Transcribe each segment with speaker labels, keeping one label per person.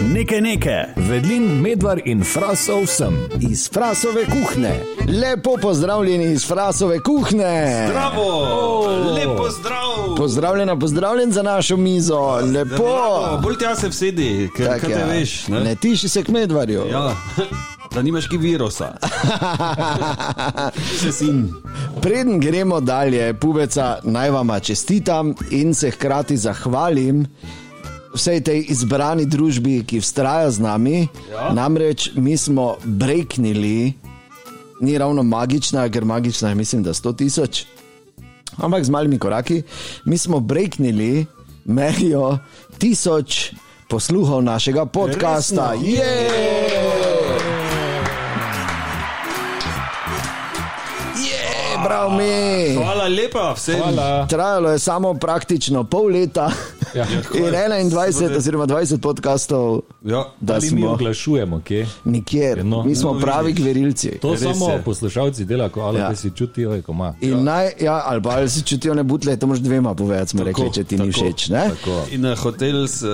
Speaker 1: Nekaj nekaj.
Speaker 2: Vedlin, medvar in frasov sem.
Speaker 3: Iz frasove kuhne. Lepo pozdravljeni iz frasove kuhne.
Speaker 4: Bravo,
Speaker 3: Oh.
Speaker 4: lepo zdrav.
Speaker 3: Pozdravljena, pozdravljen za našo mizo. Lepo.
Speaker 4: Bravo, Ja, Bolj ti jaz se vsedi, ker
Speaker 3: Tak,
Speaker 4: kaj te
Speaker 3: ja.
Speaker 4: veš. Ne?
Speaker 3: ne tiši se k medvarju.
Speaker 4: Ja, da nimaš ki virusa. Še sin.
Speaker 3: Preden gremo dalje, pubeca, naj vama čestitam in se hkrati zahvalim. Vsej tej izbrani družbi, ki vztraja z nami, ja. namreč mi smo breaknili, ni ravno magična, ker magična je, mislim, da 100 tisoč, ampak z malimi koraki, mi smo breaknili mejo tisoč posluhov našega podcasta.
Speaker 4: Resno?
Speaker 3: Je! Je, bravo mi!
Speaker 4: Hvala lepa vsem.
Speaker 5: Hvala.
Speaker 3: Trajalo je samo praktično pol leta
Speaker 5: Ja.
Speaker 3: in 21 oziroma 20 podkastov,
Speaker 4: Ja.
Speaker 3: da
Speaker 5: Ali mi
Speaker 3: smo
Speaker 5: oglašujemo, kje?
Speaker 3: nikjer,
Speaker 5: No,
Speaker 3: mi smo
Speaker 4: no,
Speaker 3: pravi
Speaker 4: vidiš.
Speaker 3: gverilci.
Speaker 5: To
Speaker 4: Res
Speaker 5: samo
Speaker 4: je.
Speaker 5: je. poslušalci delajo, ko ali
Speaker 3: Ja.
Speaker 5: ja. se čutijo, je koma.
Speaker 3: In naj, ja, ali pa ali si čutijo ne butle, to moraš dvema povedati, smo
Speaker 4: Tako,
Speaker 3: rekli, če ti ni
Speaker 4: tako,
Speaker 3: všeč. ne?
Speaker 4: In eh, hotel, s, eh,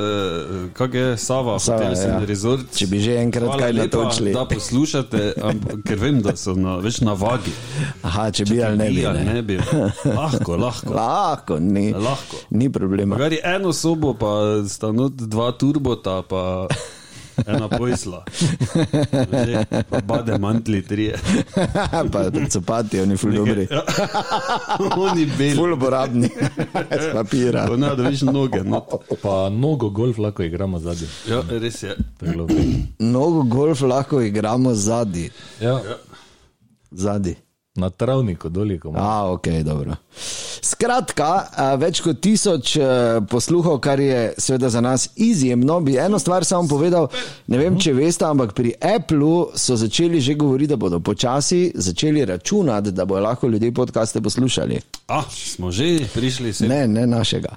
Speaker 4: kak je Sava,
Speaker 3: Sava,
Speaker 4: hotel sem
Speaker 3: ja.
Speaker 4: ja. rezort.
Speaker 3: Če bi že enkrat
Speaker 4: Hvala
Speaker 3: kaj
Speaker 4: lepa,
Speaker 3: natočili.
Speaker 4: Da poslušate, ampak, ker vem, da so na, več na vagi.
Speaker 3: Aha, če bi ali ne bi.
Speaker 4: Ja,
Speaker 3: ne.
Speaker 4: ne bi. Lahko, lahko.
Speaker 3: Lahko, ni,
Speaker 4: Lahko.
Speaker 3: ni problema.
Speaker 4: Magari eno sobo, pa sta not dva turbota, pa ena pojsla. Že, pa bade mantli trije.
Speaker 3: pa copati, oni ful dobri,
Speaker 4: Ja. Oni beli.
Speaker 3: ful uporabni, z papira.
Speaker 4: Pa ne, da viš noge. Not.
Speaker 5: Pa mnogo golf lahko igramo zadnji.
Speaker 4: Ja, res je.
Speaker 3: Mnogo golf lahko igramo zadnji.
Speaker 5: Ja.
Speaker 3: Zadnji.
Speaker 5: Na travniku doliko.
Speaker 3: A, ok, dobro. Skratka, a, več kot tisoč eh, posluhov, kar je seveda za nas izjemno. Bi eno stvar samo povedal, ne vem, če veste, ampak pri Appleu so začeli že govoriti, da bodo počasi začeli računati, da bodo lahko ljudje podcaste poslušali.
Speaker 4: Ah, smo že prišli se.
Speaker 3: Ne, ne našega.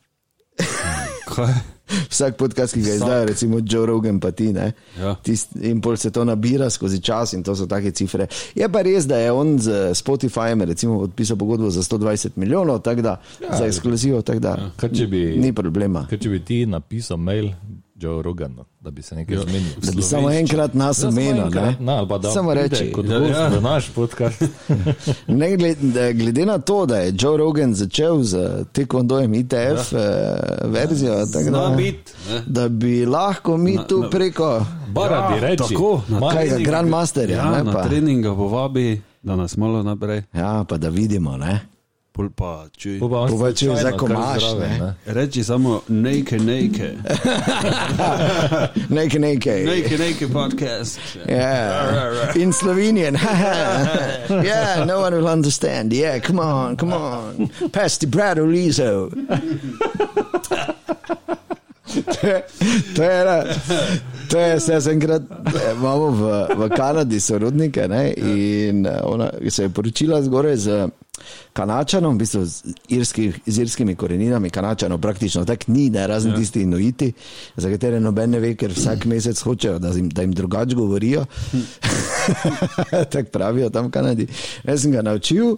Speaker 4: Kaj?
Speaker 3: Vsak podcast, ki ga izdajo, recimo Joe Rogan, pa ti ne.
Speaker 4: Ja.
Speaker 3: Tist, in pol se to nabira skozi čas, in to so take cifre. Je pa res, da je on z Spotifyjem recimo, podpisal pogodbo za 120 milijonov, tako da, ja, za ekskluzivo, tako da
Speaker 5: Kaj če bi-
Speaker 3: ni problema.
Speaker 5: Ker če bi ti napisal mail, Joe Rogan, no, da bi se nekaj zmenil.
Speaker 3: Da bi samo enkrat nas omenil. ne?
Speaker 5: Na, ali pa da
Speaker 3: Samo
Speaker 5: pride
Speaker 3: reči.
Speaker 5: Kot
Speaker 4: Ja,
Speaker 5: gost
Speaker 4: ja.
Speaker 5: v naš podcast.
Speaker 3: Ne, glede, glede na to, da je Joe Rogan začel z tekmondojem ITF ja. eh, verzijo, tako
Speaker 4: Zna
Speaker 3: da,
Speaker 4: biti. ne?
Speaker 3: da bi lahko mi na, tu na, preko
Speaker 5: Bara bi Ja, reči.
Speaker 4: tako, na
Speaker 5: Ma-
Speaker 3: kaj,
Speaker 4: treningu-
Speaker 3: Grandmasterja,
Speaker 4: Ja,
Speaker 3: ne,
Speaker 4: na
Speaker 3: pa.
Speaker 4: treninga povabi, da nas malo naprej.
Speaker 3: ja, pa da vidimo. Ne.
Speaker 4: Pol pa, čuj.
Speaker 5: Bo pa on
Speaker 3: Bo pa, če
Speaker 5: slučajno
Speaker 3: za
Speaker 5: kar
Speaker 3: komaš,
Speaker 5: zraven,
Speaker 3: ne.
Speaker 4: Reči samo nekaj, nekaj.
Speaker 3: Nekaj, nekaj.
Speaker 4: Nekaj, nekaj podcast.
Speaker 3: Yeah. In Slovenian. yeah, no one will understand. Yeah, come on, come on. Pass the brado lizo. To je- To je, ena- to je vse enkrat, eh, imamo v, v Kanadi sorodnike ne, in eh, ona se je poročila zgoraj z Kanačanom, v bistvu z, irski, z irskimi koreninami, Kanačanov praktično tako ni, ne, razen ja. tisti inuiti, za katere noben ne ve, ker vsak mesec hočejo, da jim, da jim drugače govorijo. tako pravijo tam v Kanadi. Jaz sem ga naučil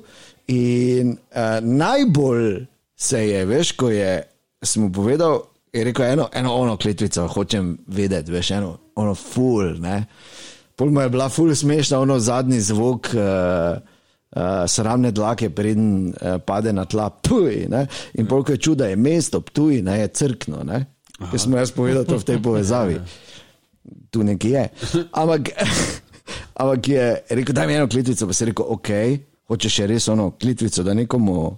Speaker 3: in uh, najbolj se je, veš, ko je, sem mu povedal, je rekel eno, eno ono kletvico, hočem vedeti, veš, eno, ono ful. Ne? Pol mu je bila ful smešna, ono zadnji zvok. Uh, Uh, sramne dlake, preden uh, pade na tla, tuj. Ne? In polk je čuda, je mesto, tuj, ne je crkno. Ne? Jaz sem mu jaz povedal to v tej povezavi tu nekje je. Ampak, ampak je rekel, da mi eno klitvico, pa si rekel, ok, hočeš še res ono klitvico, da nekomu.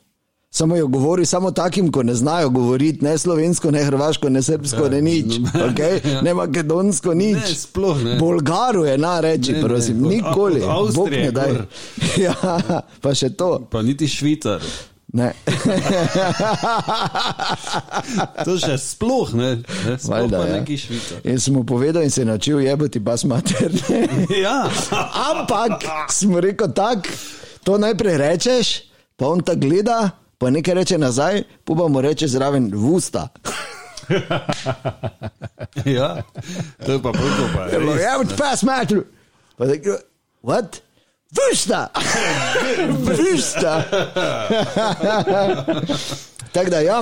Speaker 3: Samo jo govori, samo takim, ko ne znajo govoriti, ne slovensko, ne hrvaško, ne srpsko, ne nič, okay? ne makedonsko, nič.
Speaker 4: Ja, no, Ne, sploh ne.
Speaker 3: Bolgaru je na reči,
Speaker 4: Ne, ne,
Speaker 3: prosim,
Speaker 4: od-
Speaker 3: nikoli.
Speaker 4: od Avstrije
Speaker 3: Bog ne daj.
Speaker 4: gor.
Speaker 3: Ja, pa še to.
Speaker 4: Pa niti švicar.
Speaker 3: Ne,
Speaker 4: To še sploh ne, ne sploh
Speaker 3: valjda,
Speaker 4: pa
Speaker 3: ja.
Speaker 4: neki švicar.
Speaker 3: In sem mu povedal, in se je naučil jebati bas materne.
Speaker 4: Ja,
Speaker 3: Ampak sem rekel tako, to najprej rečeš, pa on tako gleda, pa nekaj reče nazaj, pa pa mu reče zraven v usta.
Speaker 4: ja, to je pa prvo pa.
Speaker 3: Je bilo,
Speaker 4: res.
Speaker 3: Ja, v pas matru. Pa tako, what? V usta! V usta! Tako da ja.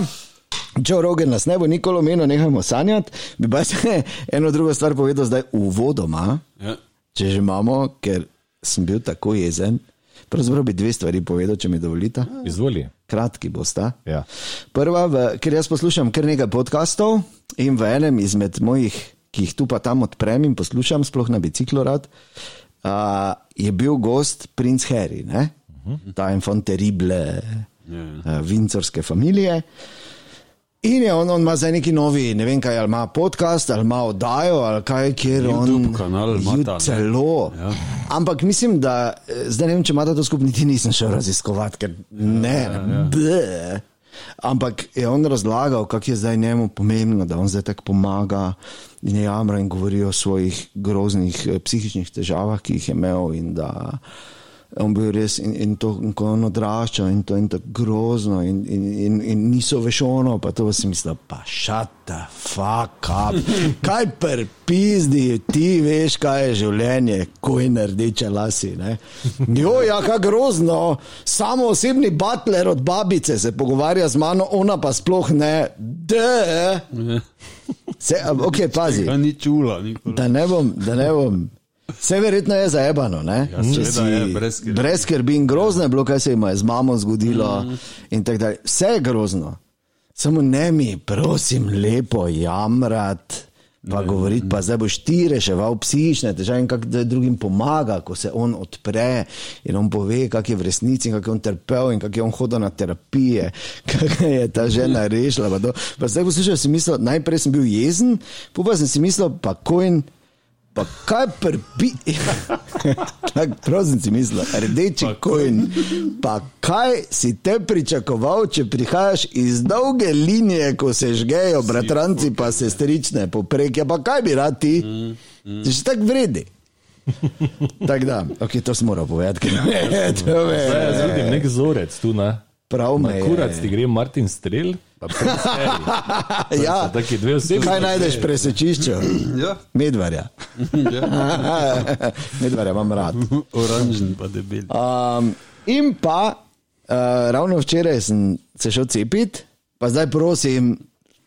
Speaker 3: Joe Rogan nas ne bo nikoli omenil, nehajmo sanjati. Bi pa se eno drugo stvar povedal zdaj uvodoma.
Speaker 4: Ja.
Speaker 3: Če že imamo, ker sem bil tako jezen, pravzaprav bi dve stvari povedal, če mi dovolite.
Speaker 5: Izvoli.
Speaker 3: Kratki bosta.
Speaker 5: Ja.
Speaker 3: Prva, v, ker jaz poslušam kar nekaj podkastov in v enem izmed mojih, ki jih tu pa tam odprem in poslušam, sploh na biciklu rad, uh, je bil gost princ Harry, ne? ta enfant terrible, uh, vincorske familije. In je on, on ima zdaj neki novi, ne vem kaj, ali ima podcast, ali ima oddajo, ali kaj, kjer
Speaker 4: YouTube
Speaker 3: on.
Speaker 4: kanal ima
Speaker 3: Ju-
Speaker 4: ta, ne?
Speaker 3: Celo. Ja. Ampak mislim, da eh, zdaj ne vem, če imate to skupno, niti nisem šel raziskovati, ker ne. Ja, ja. Ampak je on razlagal, kako je zdaj njemu pomembno, da on zdaj tako pomaga in je jamra in govori o svojih groznih eh, psihičnih težavah, ki jih je imel. In da on bil res in, in to, in ko on odrašča in to je tako grozno in, in, in, in niso vešono, pa to si misli, pa šata, fuck up. Kaj prpizdi, ti veš, kaj je življenje, ko je nardeče lasi. Ne? Jo, ja, kaj grozno, samo osebni butler od babice se pogovarja z mano, ona pa sploh ne, de. Se, ok, pazi.
Speaker 4: Ja, ni čula, nikoli.
Speaker 3: Da ne bom, da ne bom. Vse verjetno je zaebano, ne? Ja,
Speaker 4: seveda je, brez skrbi. Mhm.
Speaker 3: brez skrbi in grozno je bilo, kaj se jim je z mamo zgodilo. Mm. Vse je grozno. Samo ne mi, prosim, lepo jamrat. Pa govoriti, pa zdaj boš ti reševal psihične težave in kako zdaj drugim pomaga, ko se on odpre in on pove, kako je v resnici, in kako je on trpel in kako je on hodil na terapije, kako je ta žena rešila. Pa to. pa zdaj poslušaj, si mislil, najprej sem bil jezen, pol pa sem si mislil, pa kojn. Pa kaj prpi? Tako prosim si mislil, rdeči kojn. Pa kaj si te pričakoval, če prihajaš iz dolge linije, ko se žgejo bratranci pa sestrične poprek, ja pa kaj bi rad ti?
Speaker 5: Mm,
Speaker 3: Ti še tako vredi. Tako da, ok, to sem moral povedati, ker me je to me.
Speaker 5: Zdaj jaz
Speaker 3: je-
Speaker 5: vidim ja, nek zorec tu, ne?
Speaker 3: Prav me
Speaker 5: Na kurac ti
Speaker 3: je.
Speaker 5: gre Martin Strel, pa Prince Harry.
Speaker 3: Ja,
Speaker 5: Taki dve osebi.
Speaker 3: kaj najdeš presečišče?
Speaker 4: Ja,
Speaker 3: Medvarja.
Speaker 4: ja.
Speaker 3: Medvarja imam rad.
Speaker 4: Oranžen pa debel.
Speaker 3: Um, in pa, uh, ravno včeraj sem se šel cepiti, pa zdaj prosim,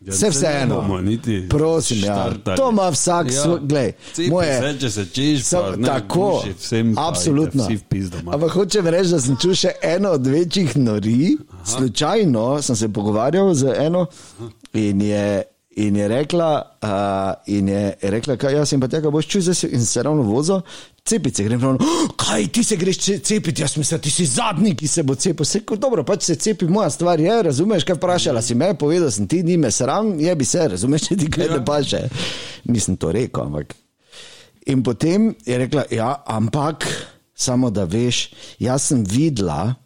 Speaker 3: ja,
Speaker 4: saj
Speaker 3: vse vseeno.
Speaker 4: bomo niti
Speaker 3: Prosim, ja.
Speaker 4: štartali.
Speaker 3: to ima vsak ja. svoj, glej,
Speaker 4: Cepi
Speaker 3: moje.
Speaker 4: Se, če se češ,
Speaker 3: Sam,
Speaker 4: pa, ne,
Speaker 3: tako,
Speaker 4: buši vsem, pa,
Speaker 3: absolutno.
Speaker 4: idete Vsi v pizdo. ma.
Speaker 3: Ampak hočem reči, da sem čutil še eno od večjih nori. Aha. Slučajno sem se pogovarjal z eno in je, in je rekla, uh, in je rekla kaj, jaz sem pa tega boš čutil, zdaj se- in se ravno vozo. Cepice, grem pravno, "Oh, kaj ti se greš ce- cepiti, jaz mislim, ti si zadnji, ki se bo cepil. Se, dobro, pač se cepi, moja stvar je, razumeš, kaj vprašala si me, povedal sem ti, ni me sram, je bi se, razumeš, če ti kaj
Speaker 4: no.
Speaker 3: ja. ne paše. Nisem to rekel, ampak In potem je rekla, ja, ampak samo da veš, jaz sem videla,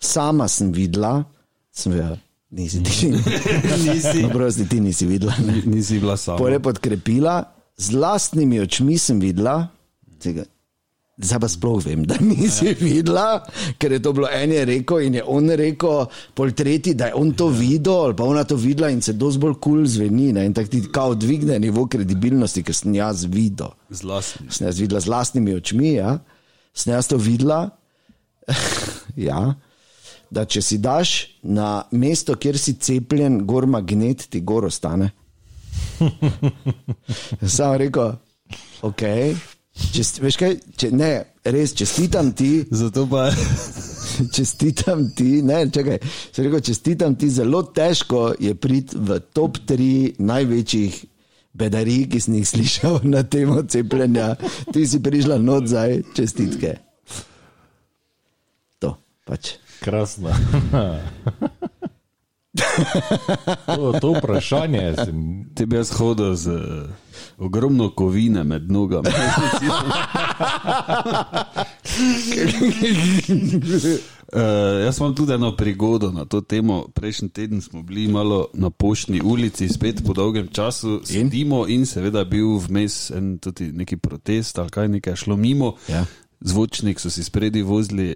Speaker 3: sama sem videla, sem videla, nisi ti.
Speaker 4: nisi,
Speaker 3: Prosti, ti nisi videla. Ne?
Speaker 4: nisi bila sama.
Speaker 3: Pore podkrepila, z lastnimi očmi sem videla. Tega. Zdaj pa sploh vem, da nisi videla, ker je to bilo en je rekel in je on rekel, pol tretji, da je on to videl, ali pa ona to videla in se dosti bolj kul cool zveni. Ne? In tako ti kao dvigne nivo kredibilnosti, ker sem jaz videl
Speaker 4: Zlasti.
Speaker 3: sem jaz videla z vlastnimi očmi, ja. sem jaz to videla. ja. Da, če si daš na mesto, kjer si cepljen, gor magnet ti gor ostane. Sam rekel, ok. Čest, veš kaj, če, ne, res čestitam ti,
Speaker 4: Zato pa
Speaker 3: čestitam ti, ne, čakaj, sem rekel, čestitam ti, zelo težko je priti v top tri največjih bedarij, ki sem jih slišal na temo cepljenja. Ti si prišla not zdaj, čestitke. To pač.
Speaker 5: Krasno. to, to vprašanje sem
Speaker 4: ti bi jaz hodil z eh, ogromno kovine med nogami. Uh, jaz imam tudi eno prigodo na to temo. Prejšnji teden smo bili malo na poštni ulici, spet po dolgem času sedimo in seveda je bil vmes en tudi neki protest ali kaj nekaj je šlo mimo.
Speaker 3: Ja.
Speaker 4: Zvočnik so si spredi vozili.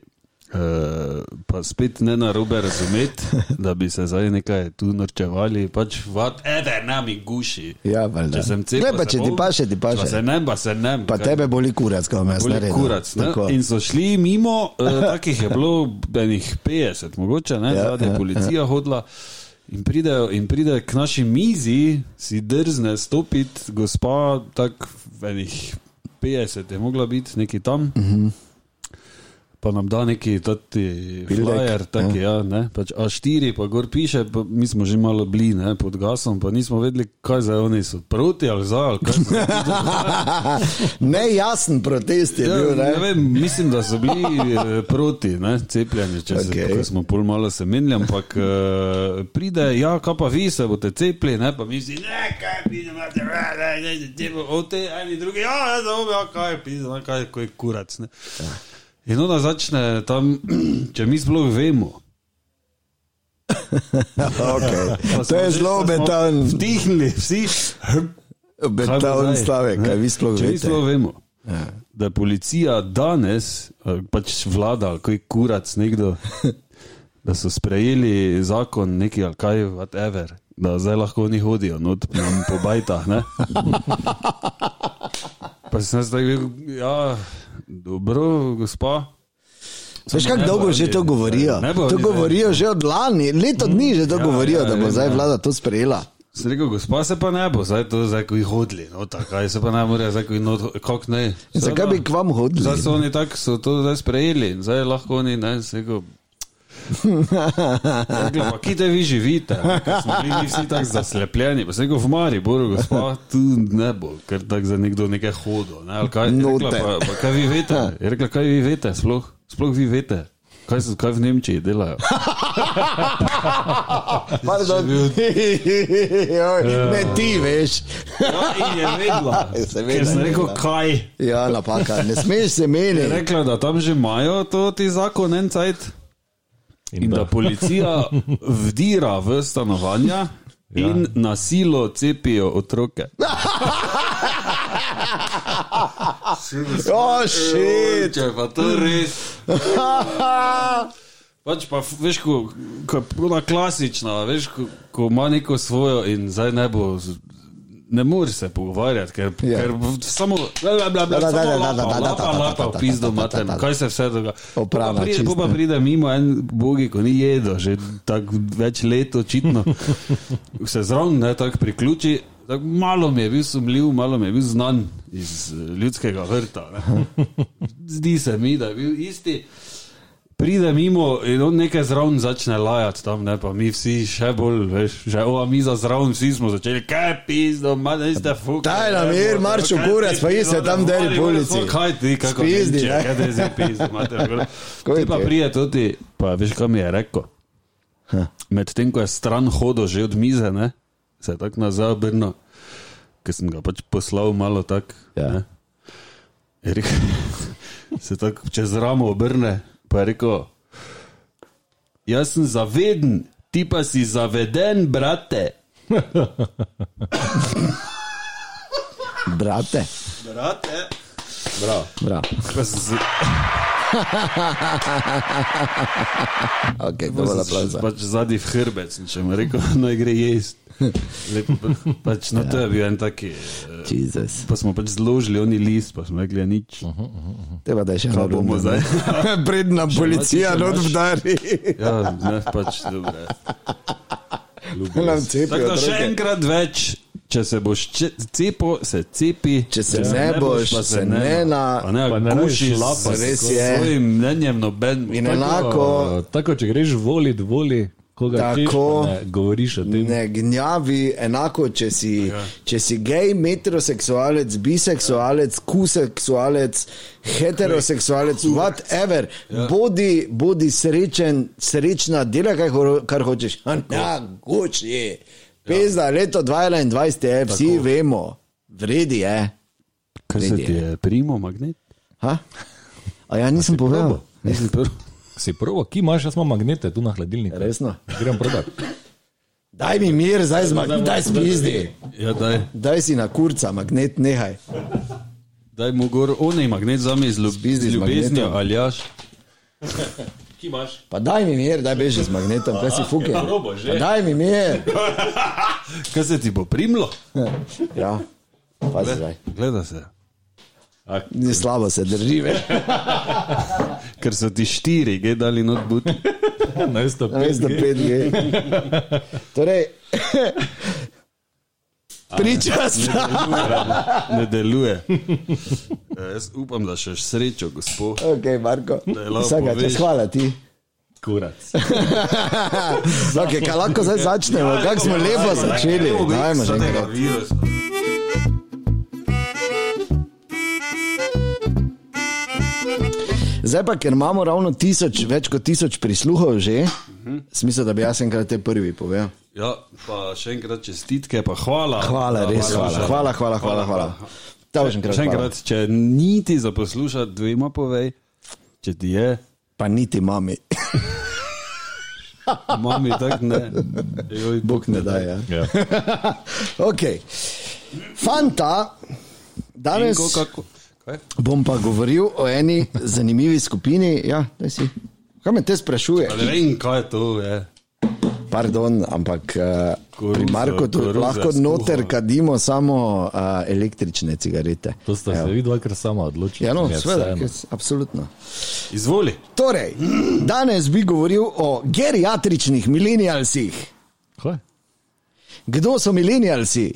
Speaker 4: Uh, pa spet ne na robe razumeti, da bi se zdaj nekaj tu norčevali, pač vat, eden nami guši.
Speaker 3: Ja, valjda.
Speaker 4: če sem
Speaker 3: Glej,
Speaker 4: cepil,
Speaker 3: pa če ti paše, ti paše.
Speaker 4: Pa se ne, pa se ne.
Speaker 3: Pa tebe boli kurac, ko me
Speaker 4: Boli
Speaker 3: zdaj
Speaker 4: kurac, ne? In so šli mimo, eh, takih je bilo enih 50, mogoče, ne,
Speaker 3: Ja,
Speaker 4: zadnja
Speaker 3: ja,
Speaker 4: policija hodila. In pridejo, in pride k naši mizi, si drzne stopiti, gospa, tako enih 50 je mogla biti, neki tam.
Speaker 3: Mhm.
Speaker 4: Pa nam da neki tati
Speaker 3: Bildek,
Speaker 4: flyer, taki, ja, ne, pač A4, pa gor piše, pa mi smo že malo bili, ne, pod gasom, pa nismo vedeli, kaj za oni so proti ali za, ali kaj so.
Speaker 3: Nejasen protest je
Speaker 4: Ja,
Speaker 3: bil,
Speaker 4: ne
Speaker 3: ne?
Speaker 4: vem, mislim, da so bili eh, proti ne, cepljenju, če okay. se
Speaker 3: Okej.
Speaker 4: tako smo pol malo semenili, ampak uh, pride, ja, kaj pa vi se boste cepili, ne, pa mi si, ne, kaj bi imate, ne, ne, ne, ne, o te eni drugi, ja, ne, zaobe, ja, kaj bi, ne, kaj, ko je kurac. Ne.
Speaker 3: Ja.
Speaker 4: In ona začne tam, če mi sploh vemo.
Speaker 3: Okay.
Speaker 4: pa
Speaker 3: To
Speaker 4: smo
Speaker 3: je
Speaker 4: že-
Speaker 3: zelo
Speaker 4: pa smo
Speaker 3: obetan,
Speaker 4: Vdihnili vsi. Kaj bo
Speaker 3: obetan
Speaker 4: zdaj?
Speaker 3: stavek,
Speaker 4: Ne.
Speaker 3: kaj vi sploh
Speaker 4: Če mi
Speaker 3: veste. Ja.
Speaker 4: sploh vemo. Da je policija danes, eh, pač vlada, ali kaj kurac nekdo, da so sprejeli zakon, neki ali kaj, whatever, da zdaj lahko oni hodijo not, nam po bajtah. Ne? Pa sem jaz tako rekel, ja, dobro, gospa.
Speaker 3: Veš, kako
Speaker 4: ne
Speaker 3: dolgo
Speaker 4: bojo
Speaker 3: že
Speaker 4: oni-
Speaker 3: to govorijo?
Speaker 4: Ne bojo
Speaker 3: To
Speaker 4: oni
Speaker 3: govorijo že od lani, leto dni že to govorijo,
Speaker 4: ja,
Speaker 3: da bo
Speaker 4: vem,
Speaker 3: zdaj
Speaker 4: ja.
Speaker 3: vlada to sprejela.
Speaker 4: Sem rekel, gospa se pa ne bo, zdaj to zdaj, ko jih hodili, no, tako, kaj se pa ne more, zdaj, ko jih not, kako ne.
Speaker 3: In Zakaj bi k vam hodili?
Speaker 4: Zdaj so oni tako, so to zdaj sprejeli in zdaj lahko oni ne sego. Pa kje te vi živite? ne, ker smo bili mi Vsi tako zaslepljeni, pa se go v Mariboru, gospa, tu ne bo, ker tako za nekdo nekaj hodo. Ne? ali Kaj, je rekla,
Speaker 3: Note.
Speaker 4: pa, pa kaj vi veste? Je rekla, kaj vi veste, sploh, sploh vi veste, kaj, so, kaj v Nemčiji delajo. Ja.
Speaker 3: Pardon. Joj, Ne ti veš.
Speaker 4: Ja, in je vedela.
Speaker 3: Ja, Seveda
Speaker 4: Ker sem
Speaker 3: je
Speaker 4: rekel,
Speaker 3: vedela.
Speaker 4: kaj.
Speaker 3: Ja, napaka, ne smeš se
Speaker 4: Je
Speaker 3: meni.
Speaker 4: rekla, da tam že imajo to ti zakon en cajt. In da policija vdira v stanovanja ja. in na silo cepijo otroke.
Speaker 3: O, šit.
Speaker 4: Če pa to res. Pač pa, f- veš, ko, ko je ona klasična, veš, ko, ko ima neko svojo in zdaj ne bo. z- Ne moreš se pogovarjati, ker,
Speaker 3: Ja.
Speaker 4: yeah. ker v- samo
Speaker 3: Da, da, da, da, da, da, da, da, da, da, da, da,
Speaker 4: pizdo
Speaker 3: da, da, da,
Speaker 4: mater,
Speaker 3: da.
Speaker 4: kaj se vse dogaja.
Speaker 3: Oprava
Speaker 4: Pa pride-
Speaker 3: čist,
Speaker 4: Po pa
Speaker 3: ne.
Speaker 4: pride mimo en bogi, ko ni jedo, že tako več let očitno. Se zraven ne tako priključi. Tak malo mi je bil sumljiv, malo mi je bil znan iz eh, ljudskega vrta. Ne. Zdi se mi, da je bil isti. Pride mimo in on nekaj zraven začne lajati tam, ne pa mi vsi še bolj, veš, že ova miza zraven, vsi smo začeli, kaj pizdo, manj niste no, fukali.
Speaker 3: Daj nam mir, Marčo, kurac, pa iste tam deri po ulici.
Speaker 4: Kaj ti, kako
Speaker 3: Spizdi,
Speaker 4: Nemčija,
Speaker 3: ne?
Speaker 4: kaj te zdaj pizdi, mater, gor.
Speaker 3: Kaj
Speaker 4: Ti pa
Speaker 3: ti?
Speaker 4: prije tudi, pa veš, kaj mi je rekel. Medtem ko je stran hodil že od mize, ne, se je tako nazaj obrnil, ker sem ga pač poslal malo tako.
Speaker 3: Ja.
Speaker 4: ne. Je rekel, se tako čez ramo obrne, pa je rekel, jaz sem zaveden, ti pa si zaveden, brate.
Speaker 3: Brate,
Speaker 4: Brate. Bravo.
Speaker 3: bra.
Speaker 4: Pa sem se-
Speaker 3: Okay, dovolj aplauza.
Speaker 4: Pač zadnji v hrbet, sem če mu rekel, naj gre jesti. Lepo, pa- Pač, no, to je bil en taki. eh,
Speaker 3: Jezus.
Speaker 4: Pa smo pač zložili oni list, pa smo rekli, ja, nič.
Speaker 5: Mhm.
Speaker 3: Teba da je še eno rundo,
Speaker 4: bomo zdaj?
Speaker 3: ne. Pred nam policija
Speaker 4: če
Speaker 3: not
Speaker 4: imaš-
Speaker 3: vdari.
Speaker 4: Ja, ne, pač dobro. je.
Speaker 3: Nam cepijo
Speaker 4: Tako da še
Speaker 3: otroke.
Speaker 4: enkrat več, če se boš če- cepil, se cepi. Ja,
Speaker 3: Če se ne boš,
Speaker 4: pa
Speaker 3: se ne na-
Speaker 4: Pa ne,
Speaker 5: Pa
Speaker 4: pa
Speaker 5: ne
Speaker 4: ne
Speaker 5: rabiš
Speaker 4: gušiš
Speaker 5: lapa,
Speaker 4: lapa,
Speaker 3: res
Speaker 4: res
Speaker 3: je.
Speaker 4: je. S svojim no, mnenjem noben.
Speaker 3: In enako,
Speaker 5: Tako, če greš volit, voli, koga
Speaker 3: Tako.
Speaker 5: hočeš, pa ne govoriš o tem.
Speaker 3: ne gnjavi, enako, če si, če si gej, metroseksualec, biseksualec, kuseksualec, heteroseksualec, whatever, bodi, bodi srečen, srečna, delaj, kaj ho- kar hočeš. A Ja, goč je. Pezda, leto 2021 je, vsi Ja. Tako. vemo, vredi je.
Speaker 4: Kaj se ti je, primo magnet?
Speaker 3: Ha? A ja nisem povedal.
Speaker 4: Nisem prvi.
Speaker 5: Si prvo, ki imaš, jaz imam magnete tu na hladilniku.
Speaker 3: Resno.
Speaker 5: Grem prodati.
Speaker 3: Daj mi mir, zdaj zmagaj, daj spizdi.
Speaker 4: Ja, daj,
Speaker 3: Daj si na kurca, magnet, nehaj.
Speaker 4: daj mu gor, onaj magnet za me iz ljub-
Speaker 3: Spizdi
Speaker 4: z
Speaker 3: z magnetom.
Speaker 4: ljubeznijo, ali jaš.
Speaker 5: Ki imaš?
Speaker 3: Pa daj mi mir, daj beži z magnetom, kaj si fuke.
Speaker 5: robo že.
Speaker 3: Pa daj mi mir.
Speaker 4: Kaj se ti bo primlo?
Speaker 3: Ja, pazi zdaj.
Speaker 4: Gleda se.
Speaker 3: Ni slabo se drži, veš.
Speaker 4: Ker so ti štiri, gej dali not bud.
Speaker 5: Na isto.
Speaker 3: Veš, da 5G. Torej, priča sta.
Speaker 4: Ne deluje. Ja, jaz upam, da še srečo, gospod.
Speaker 3: Ok, Marko.
Speaker 4: je lahko
Speaker 3: Vsaka čas,
Speaker 4: poveš.
Speaker 3: hvala ti.
Speaker 5: Kurac.
Speaker 3: Okay, kaj lahko zdaj začnemo? Kako smo lepo začeli? Dajmo še enkrat.
Speaker 4: virusa.
Speaker 3: Zdaj pa, ker imamo ravno tisoč, več kot tisoč prisluhov že, smisel, da bi jaz enkrat te prvi povedal.
Speaker 4: Ja, pa še enkrat čestitke, pa hvala.
Speaker 3: Hvala, res hvala.
Speaker 4: poslušati.
Speaker 3: Hvala, hvala, hvala. hvala. Ta boš enkrat.
Speaker 4: Še
Speaker 3: hvala.
Speaker 4: enkrat, če niti za poslušati, dvema povej, če ti je,
Speaker 3: Pa niti mami,
Speaker 4: mami tako ne. Joj,
Speaker 3: bog ne da. Ja.
Speaker 5: Ja.
Speaker 3: Okay. Fanta, danes
Speaker 4: Inko, kako? Kaj?
Speaker 3: bom pa govoril o eni zanimivi skupini. Ja, daj si. Kaj me te sprašuje?
Speaker 4: Ali vem, kaj je to je.
Speaker 3: Pardon, ampak eh,
Speaker 4: Koruza,
Speaker 3: pri Marku tu
Speaker 4: koruza
Speaker 3: lahko
Speaker 4: skuha.
Speaker 3: noter kadimo samo eh, električne cigarete.
Speaker 5: To sta se vidva, ker sama odločila.
Speaker 3: Ja, no,
Speaker 5: Mi je
Speaker 3: seveda,
Speaker 5: vseeno.
Speaker 3: ker s- absolutno.
Speaker 4: Izvoli.
Speaker 3: Torej, danes bi govoril o geriatričnih milenijalcih.
Speaker 5: Kaj?
Speaker 3: Kdo so milenijalci?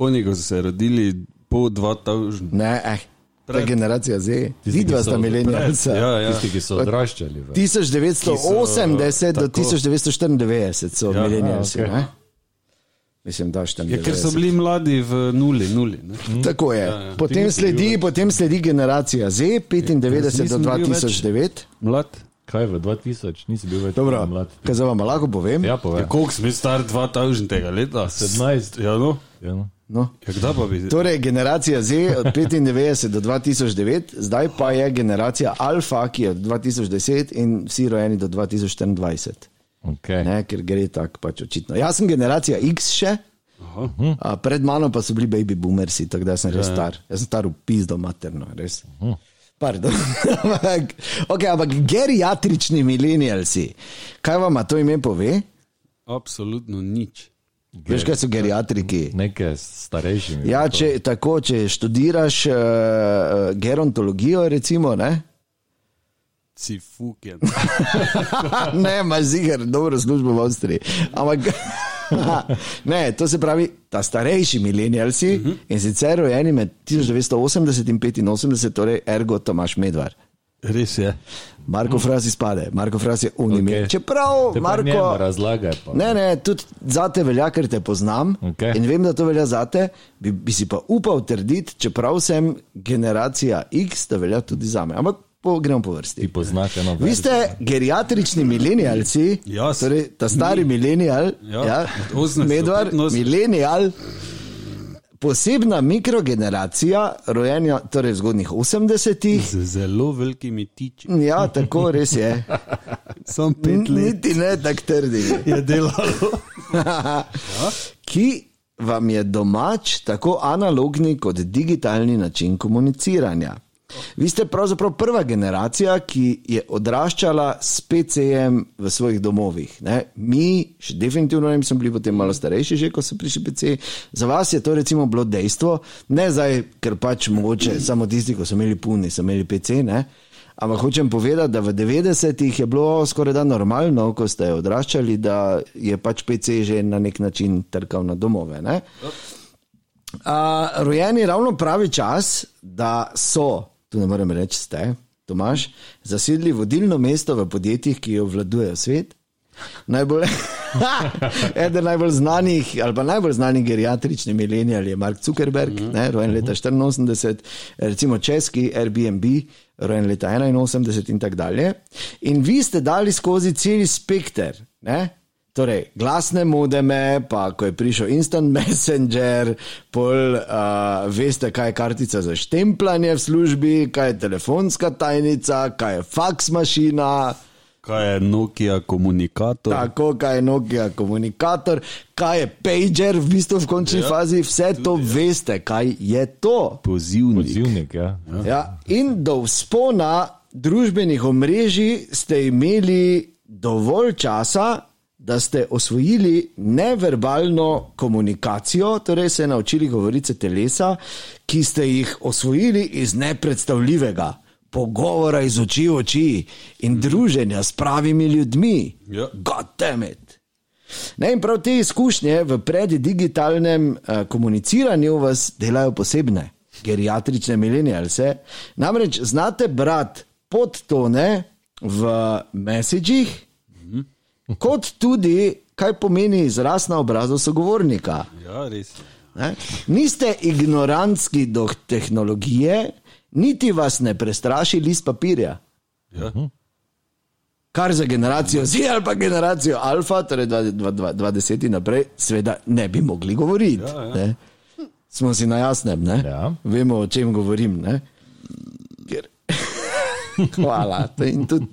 Speaker 4: Oni, ko so se rodili po 2000.
Speaker 3: Ne, eh, ta
Speaker 4: Pred.
Speaker 3: generacija zdaj.
Speaker 5: Tisti, ki
Speaker 3: Vidva
Speaker 5: so
Speaker 3: sta
Speaker 5: pred.
Speaker 3: milenijalca.
Speaker 4: Ja, ja.
Speaker 5: Tisti, ki so odraščali. v-
Speaker 3: 1980 do
Speaker 4: eh, tako.
Speaker 3: 1994 so
Speaker 4: Ja,
Speaker 3: milenijalci.
Speaker 5: ja, ok.
Speaker 3: ne? Mislim, da je tam.
Speaker 4: Ja, ker so bili Hm? Ja, mladi v nuli, nuli. Ne?
Speaker 3: Tako je. Potem sledi, potem sledi generacija Z, 95 do
Speaker 4: nisem Ja, bil več.
Speaker 3: 2009.
Speaker 4: Mlad.
Speaker 5: Kaj v 2000 nisi bil več
Speaker 3: Dobro,
Speaker 5: mlad?
Speaker 3: kaj za vam lahko povem?
Speaker 5: Ja,
Speaker 4: Ja,
Speaker 5: povej.
Speaker 4: koliko smo star 2000 tega leta?
Speaker 5: 17.
Speaker 4: Ja, no.
Speaker 5: Ja, no.
Speaker 3: No.
Speaker 4: Ja, kdaj pa bi?
Speaker 3: Torej, generacija Z od 95 do 2009, zdaj pa je generacija Alfa, ki je od 2010 in vsi rojeni do 2024.
Speaker 5: okay.
Speaker 3: Ne, ker gre tako pač očitno. Jaz sem generacija X še,
Speaker 4: Aha.
Speaker 3: a pred mano pa so bili baby boomersi, tako da sem res star. Jaz sem star v pizdo materno, res. Pardon. ampak, okay, ampak geriatrični milenijalci, kaj vam to ime pove?
Speaker 4: Absolutno nič.
Speaker 3: Veš, kaj so geriatriki?
Speaker 5: Nekaj s starejšimi.
Speaker 3: Ja, če, tako, če študiraš uh, gerontologijo, recimo, ne,
Speaker 4: Si fuken.
Speaker 3: ne imaš ziger, dobro službo v Avstriji. Ampak, ne, to se pravi, ta starejši milenijalci uh -huh. in sicer rojeni med 1980 in 85, torej ergo Tomaš Medvar.
Speaker 4: Res je.
Speaker 3: Marko Frasi spade, Marko Frasi je unimi. Okay.
Speaker 5: Mhm. Okej.
Speaker 3: Čeprav,
Speaker 5: Te pa njemu
Speaker 3: Marko,
Speaker 5: razlagaj. Pa.
Speaker 3: Ne, ne, tudi za te velja, ker te poznam
Speaker 5: Okej.
Speaker 3: in vem, da to velja za te. Bi, bi si pa upal trditi, čeprav sem generacija X, da velja tudi za me. Ampak po, gremo po vrsti.
Speaker 5: Ti poznaš eno
Speaker 3: Vi
Speaker 5: več.
Speaker 3: ste geriatrični milenijalci,
Speaker 4: Jaz.
Speaker 3: torej ta stari milenijal,
Speaker 4: Ja,
Speaker 3: ja,
Speaker 4: od 80 do
Speaker 3: medvar,
Speaker 4: 85.
Speaker 3: milenijal, posebna mikrogeneracija, rojenja torej v zgodnjih 80-ih.
Speaker 4: Z zelo velikimi tiči.
Speaker 3: Ja, tako res je.
Speaker 4: Sam pet let
Speaker 3: Niti ne tako trdi.
Speaker 4: je delalo.
Speaker 3: ki vam je domač, tako analogni kot digitalni način komuniciranja. Vi ste pravzaprav prva generacija, ki je odraščala s PC-jem v svojih domovih. Ne? Mi, še definitivno, ne, smo bili potem malo starejši, že ko so prišli PC. Za vas je to recimo bilo dejstvo, ne zdaj, ker pač mogoče samo tisti, ki so imeli puni, so imeli PC. Ne? Ampak hočem povedati, da v 90-ih je bilo skoraj da normalno, ko ste odraščali, da je pač PC že na nek način trkal na domove. Ne? A, rojen je ravno pravi čas, da so, tu ne morem reči, ste, Tomaš, zasedli vodilno mesto v podjetjih, ki obvladujejo svet. Najbolj, eden najbolj znanih, ali pa najbolj znanih geriatričnih milenijalov je Mark Zuckerberg, uh -huh. ne, rojen leta 84, recimo česki Airbnb, rojen leta 81 in tako dalje. In vi ste dali skozi cel spekter. Ne? Torej, glasne modeme, pa ko je prišel Instant Messenger, pol uh, veste, kaj je kartica za štemplanje v službi, kaj je telefonska tajnica, kaj je faks mašina.
Speaker 4: Kaj je Nokia komunikator?
Speaker 3: Tako, kaj je Nokia komunikator, kaj je pager, v bistvu v končni ja, fazi vse to tudi, veste, kaj je to.
Speaker 4: pozivnik.
Speaker 5: Odzivnik, ja.
Speaker 3: Ja, in do vzpona družbenih omrežij ste imeli dovolj časa, da ste osvojili neverbalno komunikacijo, torej se naučili govorice telesa, ki ste jih osvojili iz nepredstavljivega. Pogovora iz oči v oči in druženja s pravimi ljudmi.
Speaker 4: Ja.
Speaker 3: God damn it. Ne, in prav te izkušnje v preddigitalnem uh, komuniciranju vas delajo posebne, geriatrične milenijalce. Namreč znate brati podtone v mesičih, kot tudi kaj pomeni izraz na obrazu sogovornika.
Speaker 4: Ja, res. je.
Speaker 3: Ne? Niste ignorantski do tehnologije, niti vas ne prestraši list papirja.
Speaker 4: Ja.
Speaker 3: Kar za generacijo Z ali pa generacijo Alfa, torej 2010 in naprej, seveda ne bi mogli govoriti. Ja,
Speaker 4: ja.
Speaker 3: ja. Smo si na jasnem, ne?
Speaker 5: Ja.
Speaker 3: vemo o čem govorim. Ne? Ker- Hvala. To In tudi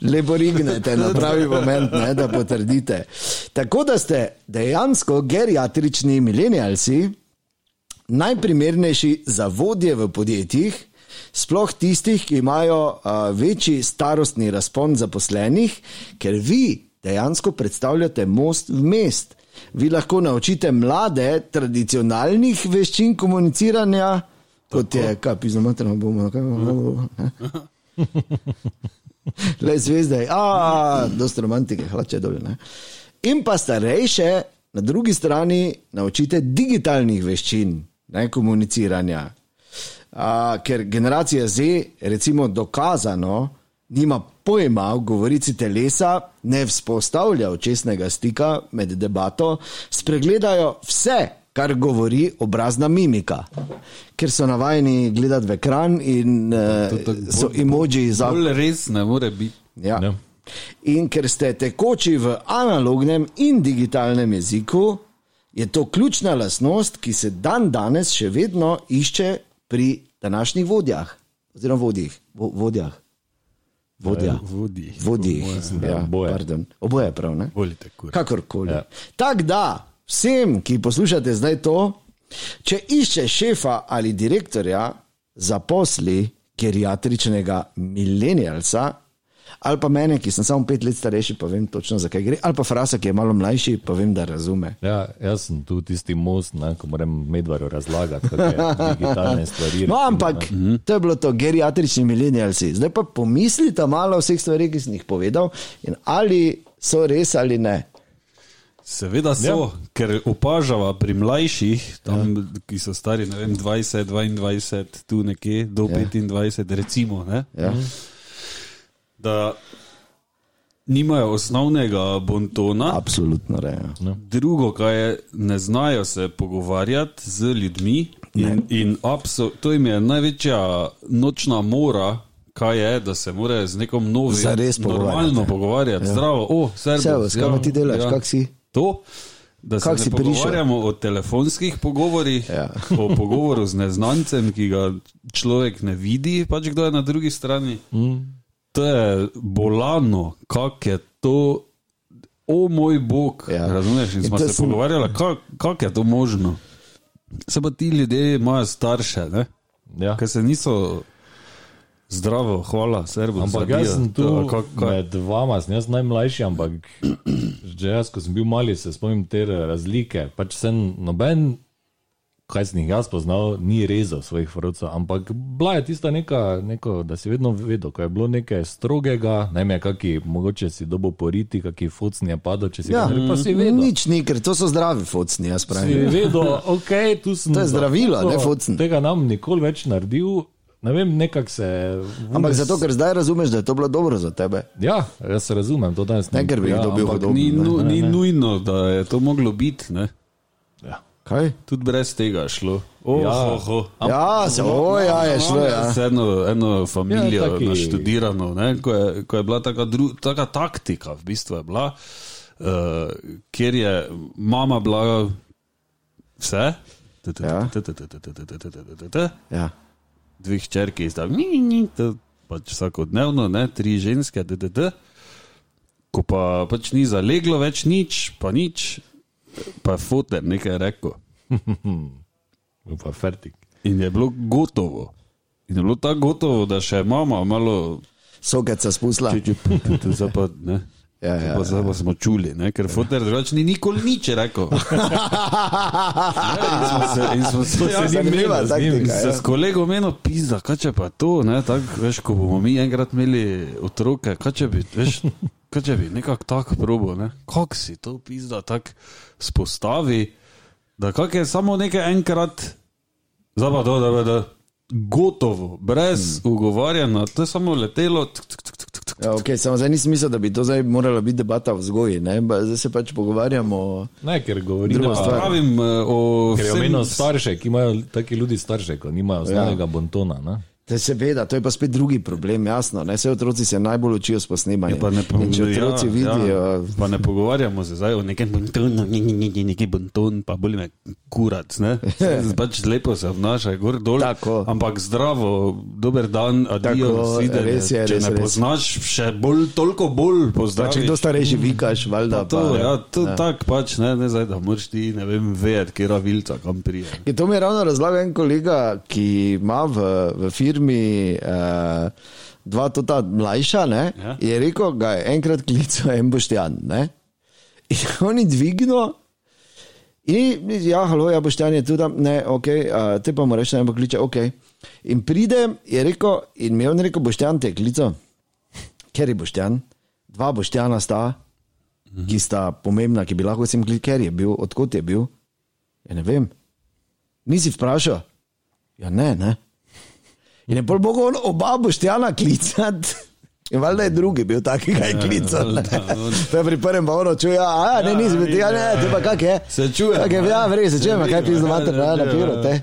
Speaker 3: lepo rignete na pravi moment, ne, da potrdite. Tako da ste dejansko geriatrični milenijalci, najprimernejši za vodje v podjetjih, sploh tistih, ki imajo uh, večji starostni razpon zaposlenih, ker vi dejansko predstavljate most vmes. Vi lahko naučite mlade tradicionalnih veščin komuniciranja, kot je kapizomatra, bomo kaj bomo. Le zvezde, a, dosta romantike, hlače dol. Ne? In pa starejše, na drugi strani, naučite digitalnih veščin, ne komuniciranja. A, ker generacija Z, recimo, dokazano, nima pojma o govorici telesa, ne vzpostavlja očesnega stika med debato, spregledajo vse, kar govori obrazna mimika, ker so navajeni gledati v ekran in
Speaker 4: To tako
Speaker 3: uh,
Speaker 4: bolj-
Speaker 3: so emoji za
Speaker 4: Bolj res ne more biti.
Speaker 3: Ja.
Speaker 5: Ja.
Speaker 3: In ker ste tekoči v analognem in digitalnem jeziku, je to ključna lastnost, ki se dan danes še vedno išče pri današnjih vodjah, oziroma vodjih. Vo, vodjah. Vodja.
Speaker 4: Vodi.
Speaker 3: Vodjih. Ja,
Speaker 5: Oboje.
Speaker 3: pardon. Oboje prav, ne?
Speaker 5: Volite, kur.
Speaker 3: Kakorkoli. Ja. Tako da vsem, ki poslušate zdaj to, če iščeš šefa ali direktorja, zaposli geriatričnega milenijalca. Ali pa mene, ki sem samo pet let starejši, pa vem točno, zakaj gre, ali pa frasa, ki je malo mlajši, pa vem, da razume.
Speaker 5: Ja, jaz sem tu tisti most, ne, ko moram medvarju razlagati, kako je digitalne stvari.
Speaker 3: No, ampak to je bilo to, geriatrični milenijalci. Zdaj pa pomislite malo o vseh stvareh, ki sem jih povedal, in ali so res ali ne.
Speaker 4: Seveda so, ja. ker opažava pri mlajših, tam, ja. ki so stari ne vem, 20, 22, tu nekje do ja. 25, recimo, ne,
Speaker 3: Ja.
Speaker 4: da nimajo osnovnega bontona.
Speaker 3: Absolutno ja. rejo.
Speaker 4: Drugo, kar je, ne znajo se pogovarjati z ljudmi. In, in abso, to jim je največja nočna mora, kaj je, da se morajo z nekom novim,
Speaker 3: Zares pogovarjati,
Speaker 4: normalno
Speaker 3: ne.
Speaker 4: pogovarjati. Ja. Zdravo, Ja. o, servis,
Speaker 3: Servus, kaj pa ti delaš, kako si?
Speaker 4: To, da se
Speaker 3: Kako
Speaker 4: ne
Speaker 3: si prišel?
Speaker 4: pogovarjamo o telefonskih pogovorih,
Speaker 3: Ja.
Speaker 4: ja. o pogovoru z neznancem, ki ga človek ne vidi, pač kdo je na drugi strani. Mm. To je bolano, kako je to. O moj bog,
Speaker 3: Ja.
Speaker 4: ja. razumete?
Speaker 3: In
Speaker 4: Smo
Speaker 3: to
Speaker 4: se
Speaker 3: sem-
Speaker 4: sem... pogovarjali, kako kak je to možno. Se pa ti ljudje imajo starše, ne?
Speaker 5: Ja.
Speaker 4: Ker se niso zdravo, hvala, servo.
Speaker 5: Ampak jaz sem tu
Speaker 4: kako je.
Speaker 5: med vama, sem jaz najmlajši, ampak že jaz, ko sem bil mali, se spomnim te razlike. Pač sem noben, kaj sem jih jaz poznal, ni rezal svojih vrtcev, ampak bila je tista neka, neko, da si vedno vedel, ko je bilo nekaj strogega, ne vem, kaki, mogoče si dobo poriti, kaki focni je padel, če si
Speaker 3: Ja.
Speaker 5: ga naredil, pa si vedel.
Speaker 3: Nič ni, ker to so zdravi focni, jaz
Speaker 5: Si
Speaker 3: pravim.
Speaker 5: vedel, okay, tu sem
Speaker 3: To je zdravilo,
Speaker 5: zato
Speaker 3: ne focn.
Speaker 5: Tega nam nikoli več naredil, ne vem, nekako se.
Speaker 3: Ampak zato, ker zdaj razumeš, da je to bilo dobro za tebe.
Speaker 5: Ja, jaz razumem, to danes
Speaker 3: Ne, ker bi jih
Speaker 5: ja,
Speaker 3: dobil
Speaker 5: ampak-
Speaker 3: hudo.
Speaker 4: Ni, nu, ni nujno, da je to moglo biti, ne?
Speaker 3: Kaj?
Speaker 4: Tudi brez tega je šlo. Oh,
Speaker 5: Ja.
Speaker 4: ja. oh, oh.
Speaker 3: Ja, se oja je šlo. Ja.
Speaker 4: Z eno, eno familijo,
Speaker 5: Ja,
Speaker 4: ja,
Speaker 5: taki-
Speaker 4: taki... naštudirano, ne, ko, je, ko je bila taka, dru, taka taktika, v bistvu je bila, uh, kjer je mama blaga vse,
Speaker 3: Ja. Ja.
Speaker 4: dveh črk iz tam, ni, ni, to pač vsakodnevno, ne, tri ženske, DDD. Ko pa pač ni zaleglo več nič, pa nič, pa je foter nekaj rekel.
Speaker 5: pa fertik.
Speaker 4: In je bilo gotovo. In je bilo tako gotovo, da še mama malo
Speaker 3: Sokec se spusla.
Speaker 4: zapadne.
Speaker 3: Ja, ja,
Speaker 4: Pa zdaj pa smo čuli, ne? ker foter drugače ni nikoli nič rekel. In smo se, in smo se,
Speaker 3: Ja,
Speaker 4: se,
Speaker 3: zanimiva
Speaker 5: z njim
Speaker 3: taktika,
Speaker 4: se
Speaker 3: ja.
Speaker 4: s kolegom meni pisa, kaj če pa to, ne, tak, veš, ko bomo mi enkrat imeli otroke, kaj če bi, veš, kaj če bi nekako tako probo, ne, kak si to pisa, tak spostavi, da kak je samo nekaj enkrat, zaba to, da, da, da, gotovo, brez hmm. ugovarjanja, to je samo letelo, tk, tk, tk, tk, tk,
Speaker 3: Ja, okay, samo zdaj nisem mislil, da bi to zdaj morala biti debata o vzgoji. ne, ba- Zdaj se pač pogovarjamo.
Speaker 5: Ne, ker govorimo
Speaker 3: Druga
Speaker 5: o
Speaker 3: stvar.
Speaker 4: pravim eh, o
Speaker 5: Ker je
Speaker 4: vsem
Speaker 5: omenil starše, ki imajo taki ljudi starše, ko nimajo osnovnega ja. bontona. Ne?
Speaker 3: Da seveda, to je pa spet drugi problem, jasno. Ne? Vse otroci se najbolj učijo s posnemanjem.
Speaker 4: Pa ne
Speaker 3: In če
Speaker 4: pogovarjamo-
Speaker 3: otroci ja, vidijo, ja.
Speaker 4: pa ne pogovarjamo se zdaj o nekem bontonu, ni, ni, ni, ni, neki bonton, pa boli me kurac. Ne? Se Pač lepo se obnaša, gor dol.
Speaker 3: Tako.
Speaker 4: Ampak zdravo, dober dan, adijo,
Speaker 3: Tako,
Speaker 4: sviden.
Speaker 3: res je,
Speaker 4: Če
Speaker 3: res,
Speaker 4: ne
Speaker 3: res.
Speaker 4: poznaš, še bolj, toliko bolj
Speaker 3: da,
Speaker 4: poznaš.
Speaker 3: če kdo starejši vikaš, valjda.
Speaker 4: To,
Speaker 3: pa,
Speaker 4: ja, to, tak pač, ne, ne zdaj, da moraš ti, ne vem, vedeti, kje ravilca kam prije.
Speaker 3: Je to mi je ravno razlagal en kolega, ki ima v, v firmi eh, dva tota mlajša. Ne,
Speaker 4: Ja.
Speaker 3: ja. Je rekel, ga je enkrat klical en boštjan. Ne? In on je dvignil. In je, ja, halo, ja, boštjan je tudi tam, ne, ok, uh, te pa mu reče, ne, pa kliče, ok. In pridem, je rekel, in mi je on rekel, boštjan te je klical, ker je boštjan, dva boštjana sta, ki sta pomembna, ki bi lahko sem klical, ker je bil, odkot je bil. Ja, ne vem. Nisi vprašal? Ja, ne, ne. In je bolj bogo on oba boštjana klicati. In valjda je drugi bil taki, kaj
Speaker 4: Ja,
Speaker 3: je klical. ne. To je pri prvem bavno čuje, a ja, ne, nisi bil, ja, ne, te pa kak je.
Speaker 4: Se čuje,
Speaker 3: Kak je,
Speaker 4: ne.
Speaker 3: ja, verješ, se čujem, a kaj
Speaker 4: vidim,
Speaker 3: pizno
Speaker 4: ja,
Speaker 3: mater,
Speaker 4: ja,
Speaker 3: ja,
Speaker 4: ja.
Speaker 3: na piru, te.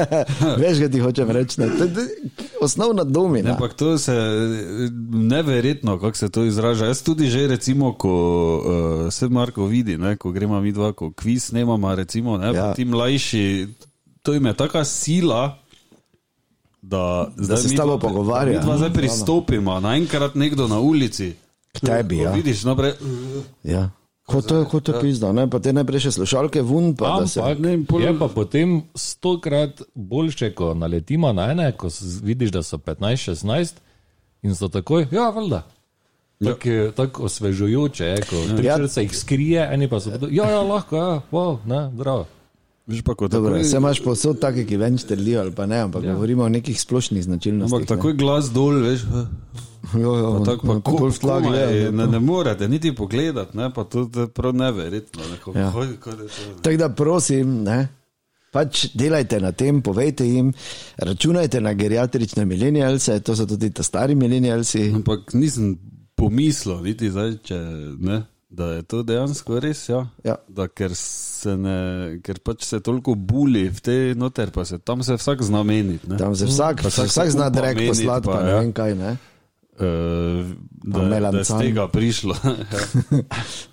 Speaker 3: Veš, kaj ti hočem reči, ne. To je- to je Osnovna domina.
Speaker 4: Ampak to se eh, neverjetno, kako se to izraža. Jaz tudi že, recimo, ko uh, se Marko vidi, ne, ko gremo mi dva, ko kviz snemamo, recimo, ne, ja.
Speaker 3: Ja.
Speaker 4: ti mlajši, to jim je taka sila. Da, zdaj
Speaker 3: se s
Speaker 4: midva-
Speaker 3: tabo pogovarja.
Speaker 4: midva Zdaj
Speaker 3: Mhm,
Speaker 4: pristopimo, naenkrat nekdo na ulici.
Speaker 3: K tebi,
Speaker 4: Ko Ja.
Speaker 3: ja.
Speaker 4: Vidiš, no, naprej,
Speaker 3: Ja. Kot to, kot to pizno, ne, pa te najprej še slušalke vun, pa da se.
Speaker 5: Ampak
Speaker 4: ne vem, pol-
Speaker 5: je pa potem stokrat boljše, ko naletimo na ene, ko s- vidiš, da so 15-16 in so takoj, ja, valjda. Tako je- Tako osvežujoče je, ko ja. se jih skrije, eni pa so pa, ja, ja, lahko, ja, wow, ne, zdravo.
Speaker 4: veš pa, ko
Speaker 3: Dobro,
Speaker 4: takoj-
Speaker 3: vse imaš posod take, ki ven štrlijo ali pa ne, ampak ja. govorimo o nekih splošnih značilnostih.
Speaker 4: Ampak takoj glas dol, veš. eh.
Speaker 3: jo, jo, no,
Speaker 4: Pa tako pa
Speaker 3: ko-
Speaker 4: ko,
Speaker 3: tla ja.
Speaker 4: komaj,
Speaker 3: gledajo,
Speaker 4: ne, ne morete niti pogledati, ne, pa to je prav neverjetno. Ne, kako,
Speaker 3: Ja.
Speaker 4: hoj, kaj je to, ne.
Speaker 3: Tako da prosim, ne. Pač delajte na tem, povejte jim, računajte na geriatrične milenijalce, to so tudi ta stari milenijalci.
Speaker 4: Ampak nisem pomislil, niti zdaj, če, ne, da je to dejansko res. Ja.
Speaker 3: Ja.
Speaker 4: Da, ker, se ne, ker pač se toliko buli v te noter, pa se tam se vsak znameni.
Speaker 3: Tam se vsak,
Speaker 4: Pa
Speaker 3: vsak,
Speaker 4: vsak
Speaker 3: vsak
Speaker 4: se
Speaker 3: zna
Speaker 4: upa
Speaker 3: drek
Speaker 4: menit,
Speaker 3: poslati,
Speaker 4: pa,
Speaker 3: pa ne
Speaker 4: ja.
Speaker 3: vem kaj. Ne?
Speaker 4: Uh,
Speaker 3: Pa
Speaker 4: da, da je z
Speaker 3: melancan.
Speaker 4: tega prišlo. ja.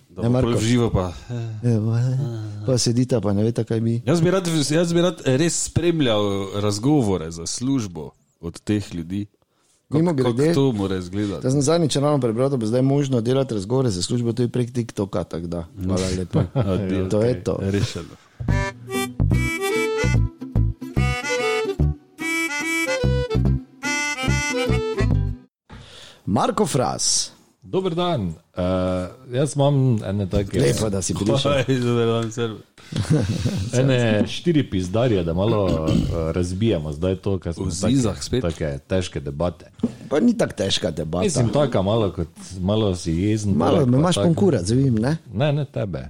Speaker 4: Da
Speaker 3: Ne,
Speaker 4: bo pol
Speaker 3: Marko.
Speaker 4: Živo pa. eh,
Speaker 3: Evo, eh, Pa sedita, pa ne veste, kaj mi.
Speaker 4: Jaz bi, rad, jaz bi rad res spremljal razgovore za službo od teh ljudi.
Speaker 3: Mimo
Speaker 4: Kako
Speaker 3: grede,
Speaker 4: to mora izgledati?
Speaker 3: da sem zadnjič ravno prebral, da bo zdaj možno delati razgovore za službo tudi prek TikToka, tako da. Hvala lepa. To je to.
Speaker 4: Rešeno.
Speaker 3: Marko Fras,
Speaker 5: Dober dan, uh, jaz imam ene take,
Speaker 3: lepo, da si prišel.
Speaker 5: ene štiri pizdarje, da malo uh, razbijemo zdaj to, kar smo
Speaker 4: V zizah spet.
Speaker 5: Take težke debate.
Speaker 3: Pa ni tako težka debata.
Speaker 5: Mislim, taka malo kot, malo si jezen.
Speaker 3: Malo
Speaker 5: poleg,
Speaker 3: me
Speaker 5: pa
Speaker 3: imaš
Speaker 5: tako.
Speaker 3: konkurac, vem, ne?
Speaker 5: Ne, ne tebe.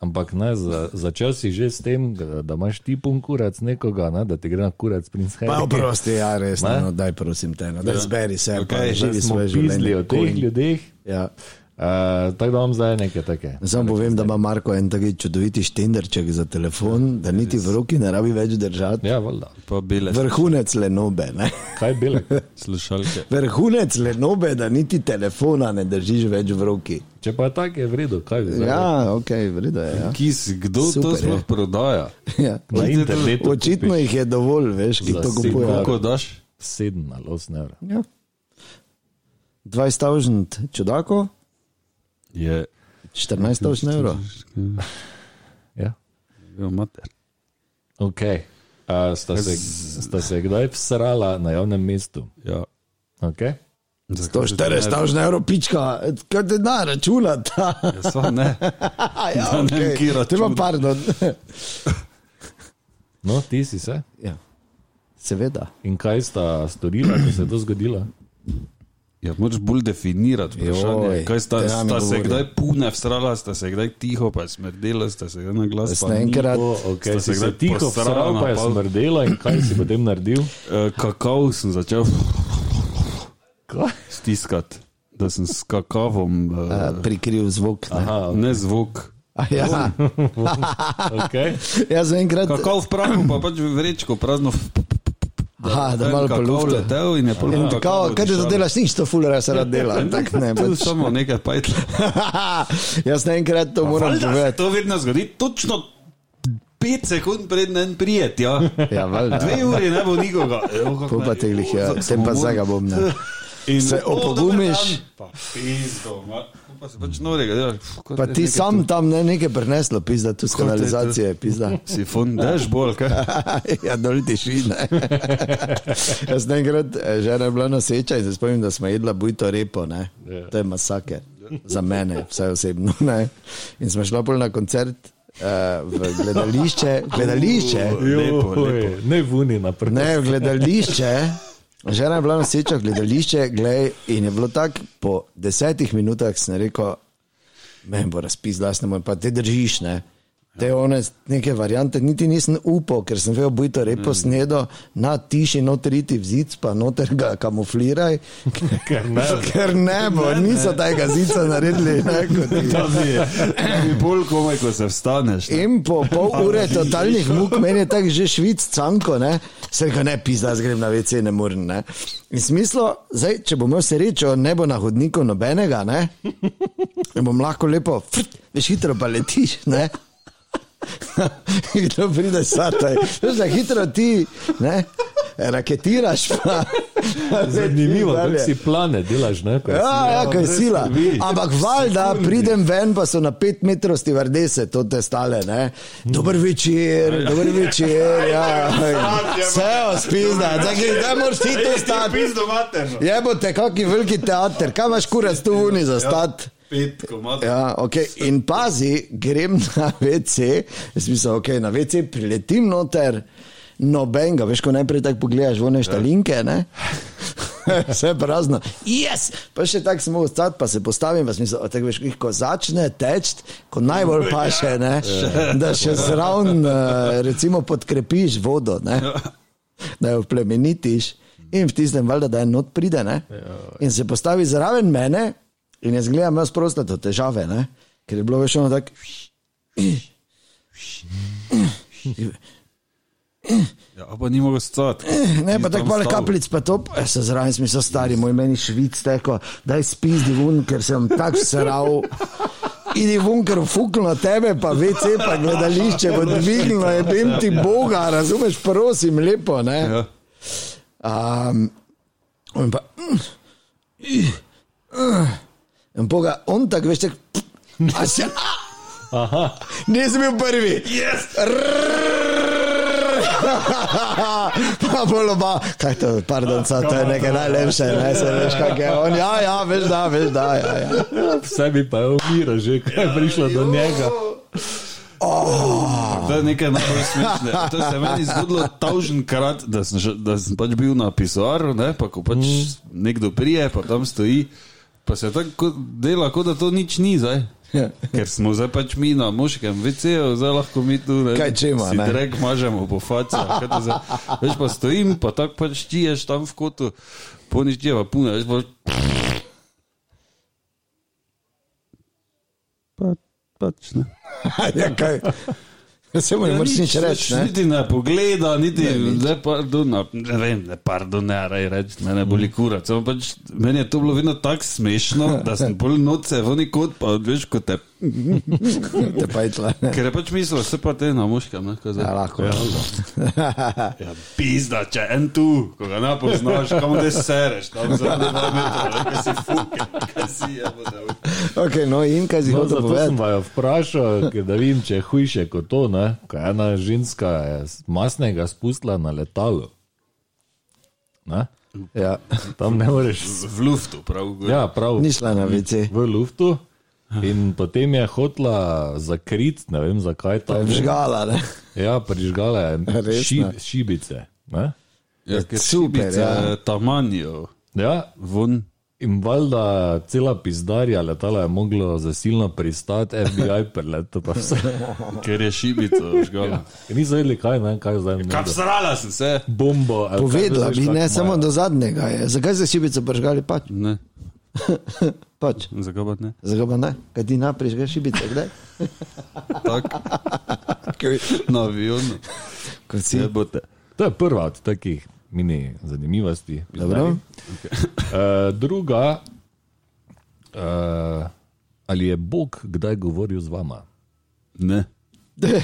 Speaker 5: Ampak ne, za, začel si že s tem, da, da imaš ti pun kurac nekoga, ne, da ti gre na kurac princ Harry.
Speaker 3: Pa oprosti, ja, res,
Speaker 5: Ne? Ja.
Speaker 3: ne? no, daj prosim te, no, daj zberi se, okay,
Speaker 4: Okej,
Speaker 3: pa živi
Speaker 5: Zdaj smo
Speaker 3: svoje
Speaker 5: pisali
Speaker 3: življenje.
Speaker 5: o teh ljudeh.
Speaker 3: Ja.
Speaker 5: Uh, tako da imam zdaj nekaj take.
Speaker 3: Zdaj mu povem, da ima Marko en taki čudoviti štenderček za telefon, da niti v roki ne rabi več držati.
Speaker 5: Ja, valjda.
Speaker 4: Pa bile
Speaker 3: Vrhunec lenobe, ne?
Speaker 5: Kaj bile?
Speaker 4: slušalke.
Speaker 3: Vrhunec lenobe, da niti telefona ne držiš več v roki.
Speaker 5: Če pa je tako, je vredno, kaj bi zdaj.
Speaker 3: Ja, ok, vrida je. Ja.
Speaker 4: Kis, kdo
Speaker 3: Super
Speaker 4: to
Speaker 3: je.
Speaker 4: sploh prodaja?
Speaker 3: Ja.
Speaker 5: Na internetu kupiš
Speaker 3: Očitno jih je dovolj, veš, ki
Speaker 5: Za
Speaker 3: to
Speaker 5: sigurno.
Speaker 3: kupujejo.
Speaker 4: Koliko daš?
Speaker 5: 7 ali 8 evrov.
Speaker 3: Ja. 20.000 čudakov,
Speaker 4: Je.
Speaker 3: 14.000 evrov.
Speaker 5: Ja.
Speaker 4: Jo, mater.
Speaker 5: Okay. A, sta, se, sta se kdaj psrala na javnem mestu?
Speaker 4: Ja.
Speaker 5: Okay.
Speaker 3: 140.000 evrov, pička, kaj ti da računata?
Speaker 4: Ja, sva ne.
Speaker 3: ja,
Speaker 4: Da ne bi kje
Speaker 3: Te pa
Speaker 4: računal.
Speaker 3: pardon.
Speaker 5: No, ti si se.
Speaker 3: ja. Seveda.
Speaker 5: In kaj sta storila, ko se je to zgodilo?
Speaker 4: Ja, moraš bolj definirati vprašanje.
Speaker 3: Joj,
Speaker 4: Joj, kaj sta,
Speaker 3: tega mi
Speaker 4: sta se
Speaker 3: govori.
Speaker 4: kdaj pune vsrala, sta se kdaj tiho, pa je smrdela, sta se kdaj na
Speaker 3: Da
Speaker 4: glas.
Speaker 3: ste
Speaker 4: pa ni.
Speaker 3: enkrat-
Speaker 5: O, okay,
Speaker 4: Sta
Speaker 5: si
Speaker 4: se
Speaker 5: se
Speaker 4: kdaj
Speaker 5: tiho
Speaker 4: posrala
Speaker 5: psral,
Speaker 4: na
Speaker 5: pa je
Speaker 4: pol?
Speaker 5: smrdelo in kaj si potem naredil?
Speaker 4: Eh, Kakav sem začel
Speaker 5: Kaj?
Speaker 4: stiskati, da sem s kakavom, eh,
Speaker 3: Uh, prikril zvok. ne.
Speaker 5: Aha,
Speaker 4: ne zvok.
Speaker 3: A Ja.
Speaker 5: okay.
Speaker 3: Jaz enkrat,
Speaker 4: Kakav v prahu, pa pač v vrečko, prazno. f-
Speaker 3: aha, da
Speaker 4: en
Speaker 3: malo
Speaker 4: kakav
Speaker 3: polufta.
Speaker 4: letel in je pol
Speaker 3: In
Speaker 4: kakava
Speaker 3: kao, kaj ti to
Speaker 4: dišalo.
Speaker 3: delaš, nič to fulera se rad dela. Tak ne,
Speaker 4: Tu
Speaker 3: pač.
Speaker 4: samo nekaj pajtla.
Speaker 3: Jaz enkrat to moram
Speaker 4: Valjda se
Speaker 3: povedati.
Speaker 4: To vedno zgodi točno 5 sekund pred en prijet, ja.
Speaker 3: Ja, valjda.
Speaker 4: Dve uri ne bo nikoga. Evo, kako
Speaker 3: Pol pa
Speaker 4: naj-
Speaker 3: te glih, ja.
Speaker 4: O,
Speaker 3: Tem
Speaker 4: samo
Speaker 3: pa
Speaker 4: moram.
Speaker 3: zdaj ga bom, ne.
Speaker 4: In
Speaker 3: Se
Speaker 4: o,
Speaker 3: opogumiš.
Speaker 4: dober dan. Pa pizdo, ma. Pol Pa se pač norega delaš. Pf, kaj
Speaker 3: Pa
Speaker 4: te
Speaker 3: ti
Speaker 4: nekaj
Speaker 3: sam tam ne nekaj preneslo, pizda, tu s
Speaker 4: te-
Speaker 3: kanalizacije, pizda.
Speaker 4: Si fon, daš bolj, kaj?
Speaker 3: ja, dol ti šine. Jaz enkrat eh, žena je bila noseča in se spomnim, da smo jedla bujto repo. Ne?
Speaker 4: Ja.
Speaker 3: To je masaker za mene, vse osebno. Ne? In smo šla bolj na koncert. eh, V gledališče, gledališče,
Speaker 4: Lepo, lepo.
Speaker 5: Oj, Ne vuni naprej.
Speaker 3: ne v gledališče, eh. žena je bila noseča v gledališče, glej, in je bilo tako, po desetih minutah sem rekel, meni bo razpis, glasno moj, pa te držiš, ne. Te one neke variante, niti nisem upal, ker sem vedel, bojto repo snedo, na tiši noter iti v zid, pa noter ga kamufliraj,
Speaker 5: Ker ne.
Speaker 3: ker ne bo, niso tega zica naredili. Ne, kot je.
Speaker 4: Da bi, bi bolj komaj, ko se vstaneš. ne.
Speaker 3: In po pol ure totalnih muk, meni je tako že švic, canko, ne, se reče, ne, pizda, zgrem na vece, ne morem. Ne. In smislo, zdaj, če bom imel srečo, ne bo na hodniku nobenega, ne, in bom lahko lepo, frt, veš, hitro pa letiš, ne. In Kdo pride sataj, veš, da hitro ti, ne, raketiraš pa.
Speaker 5: Zanimivo,
Speaker 3: letiš
Speaker 5: kako
Speaker 3: dalje.
Speaker 5: si plane delaš, ne? Ko si-
Speaker 3: Ja, ja, kaj sila. Ampak valjda pridem ven, pa so na 5 metrov stivardese, to te stale. Ne? Dober večer, dober večer. Ja. Vse ospizna, da moraš ti to stati. Ja.
Speaker 4: Pizdo materno.
Speaker 3: Je bo te kaki veliki teater, kaj imaš kurac tu uni za stati?
Speaker 4: Pet komadov.
Speaker 3: Ja, okay. In pazi, grem na WC, jaz mislim, ok, na WC priletim noter, noben ga, veš, ko najprej tako pogledaš, vone štalinke, ne? Vse prazno. Yes! Pa še tako smo ostati, pa se postavim, pa smisel, tako veš, ko začne teč, ko najbolj paše, ne? Da še zraven, eh, recimo, podkrepiš vodo, ne? Da jo plemenitiš in v tistem valjda, da en not pride, ne? In se postavi zraven mene in jaz gledam, jaz prosto to težave, ne? Ker je bilo veš ono tako.
Speaker 4: Ja, a pa ni mogel stati.
Speaker 3: Eh, Ne, pa tako malo kapljic, pa to, pa se zraven smisel stari, moj meni švic teko, daj spizdi ven, ker sem tak sral. Idi ven, ker fuklo na tebe, pa VC, pa gledališče, pa dvignilo je, bim ti Boga, razumeš, prosim, lepo, ne.
Speaker 4: Ja.
Speaker 3: Um, on pa. In poga, on tako veš, tako. A se. Aha. Nisem bil prvi. Yes. Pa boloba, kaj to, pardon, sa, to je nekaj najlepše, ne se veš, kak je on. Ja, ja, veš, da, veš, da. Ja, ja.
Speaker 5: Vse bi pa je umira že, kaj je prišlo do njega.
Speaker 4: To je nekaj najbolj smešnega. To se je meni zgodilo tavženkrat, da, sem že- da sem pač bil na pisoaru, ne, pa ko pač mm. nekdo prije, pa tam stoji, pa se tako kot- dela, kot da to nič ni zdaj. Ker smo zdaj pač mi na moškem VC-ju, zdaj lahko mi tu ne,
Speaker 3: Kaj čima,
Speaker 4: si
Speaker 3: ne?
Speaker 4: rek mažemo po faci. Veš pa stojim, pa tako pač čiješ tam v kotu, poniš čije pa pune, veš pa Pa, pač ne.
Speaker 3: ja kaj. Se mu ne moreš nič reči. ne.
Speaker 4: Niti ne pogleda, niti ne, pardon, a, ne vem, ne, pardon, ne, raj reči, ne, ne
Speaker 3: Mm.
Speaker 4: boli kurat. Samo Pač, meni je to bilo vedno tako smešno, da sem pol noce, voni kot pa, veš, kot te.
Speaker 3: Te pa je tla. ne.
Speaker 4: Ker je pač mislil, se pa te na moškem, ne, kaj zdaj.
Speaker 3: Ja, lahko.
Speaker 4: Ja, pizda, če en tu, ko ga ne poznaš, kam te sereš, tam zadnji dva metra, kaj si fuke, kaj si je, bo da.
Speaker 3: Okay, no, in kaj si
Speaker 5: No,
Speaker 3: hotel
Speaker 5: zato sem
Speaker 3: povedati?
Speaker 5: vaju vprašal, ker da vidim, če je hujše kot to, ne? kaj ena ženska je s- masnega spustila na letalo. Ne?
Speaker 3: Ja.
Speaker 5: Tam ne moreš.
Speaker 4: V luftu, prav. gor.
Speaker 5: Ja, prav.
Speaker 3: Ni šla na vici.
Speaker 5: v luftu. In potem je hotla zakrit, ne vem zakaj tam.
Speaker 3: Žgala, ne?
Speaker 5: Ja, prižgala je
Speaker 3: Res,
Speaker 5: ši,
Speaker 3: ne?
Speaker 5: šibice. Ne?
Speaker 4: Ja, ker eh,
Speaker 3: super,
Speaker 4: šibice
Speaker 3: ja.
Speaker 4: Tamanijo,
Speaker 5: Ja,
Speaker 4: von.
Speaker 5: in valjda cela pizdarja letala je moglo zasilno pristati, FBI preleto pa vse.
Speaker 4: Ker je šibico
Speaker 3: Ja.
Speaker 4: žgala.
Speaker 5: Ker Niso vedeli, kaj, ne, kaj zdaj
Speaker 4: Kaj
Speaker 5: nekdo.
Speaker 4: srala sem se?
Speaker 5: Bombo. ali kaj
Speaker 3: Povedala
Speaker 5: veš,
Speaker 3: bi,
Speaker 5: kako
Speaker 3: ne,
Speaker 5: imajo.
Speaker 3: samo do zadnjega je. Zakaj se šibico pržgali? Pač,
Speaker 4: Ne,
Speaker 3: pač.
Speaker 4: zakaj pa ne?
Speaker 3: Zakaj pa ne? Kaj ti napriš, greš šibice, kdaj?
Speaker 4: Tako. Na avionu.
Speaker 3: Kot si.
Speaker 4: Ne bote.
Speaker 5: To je prva od takih mini zanimivosti.
Speaker 3: Dobro.
Speaker 5: Uh, druga, uh, ali je Bog kdaj govoril z vama?
Speaker 4: Ne.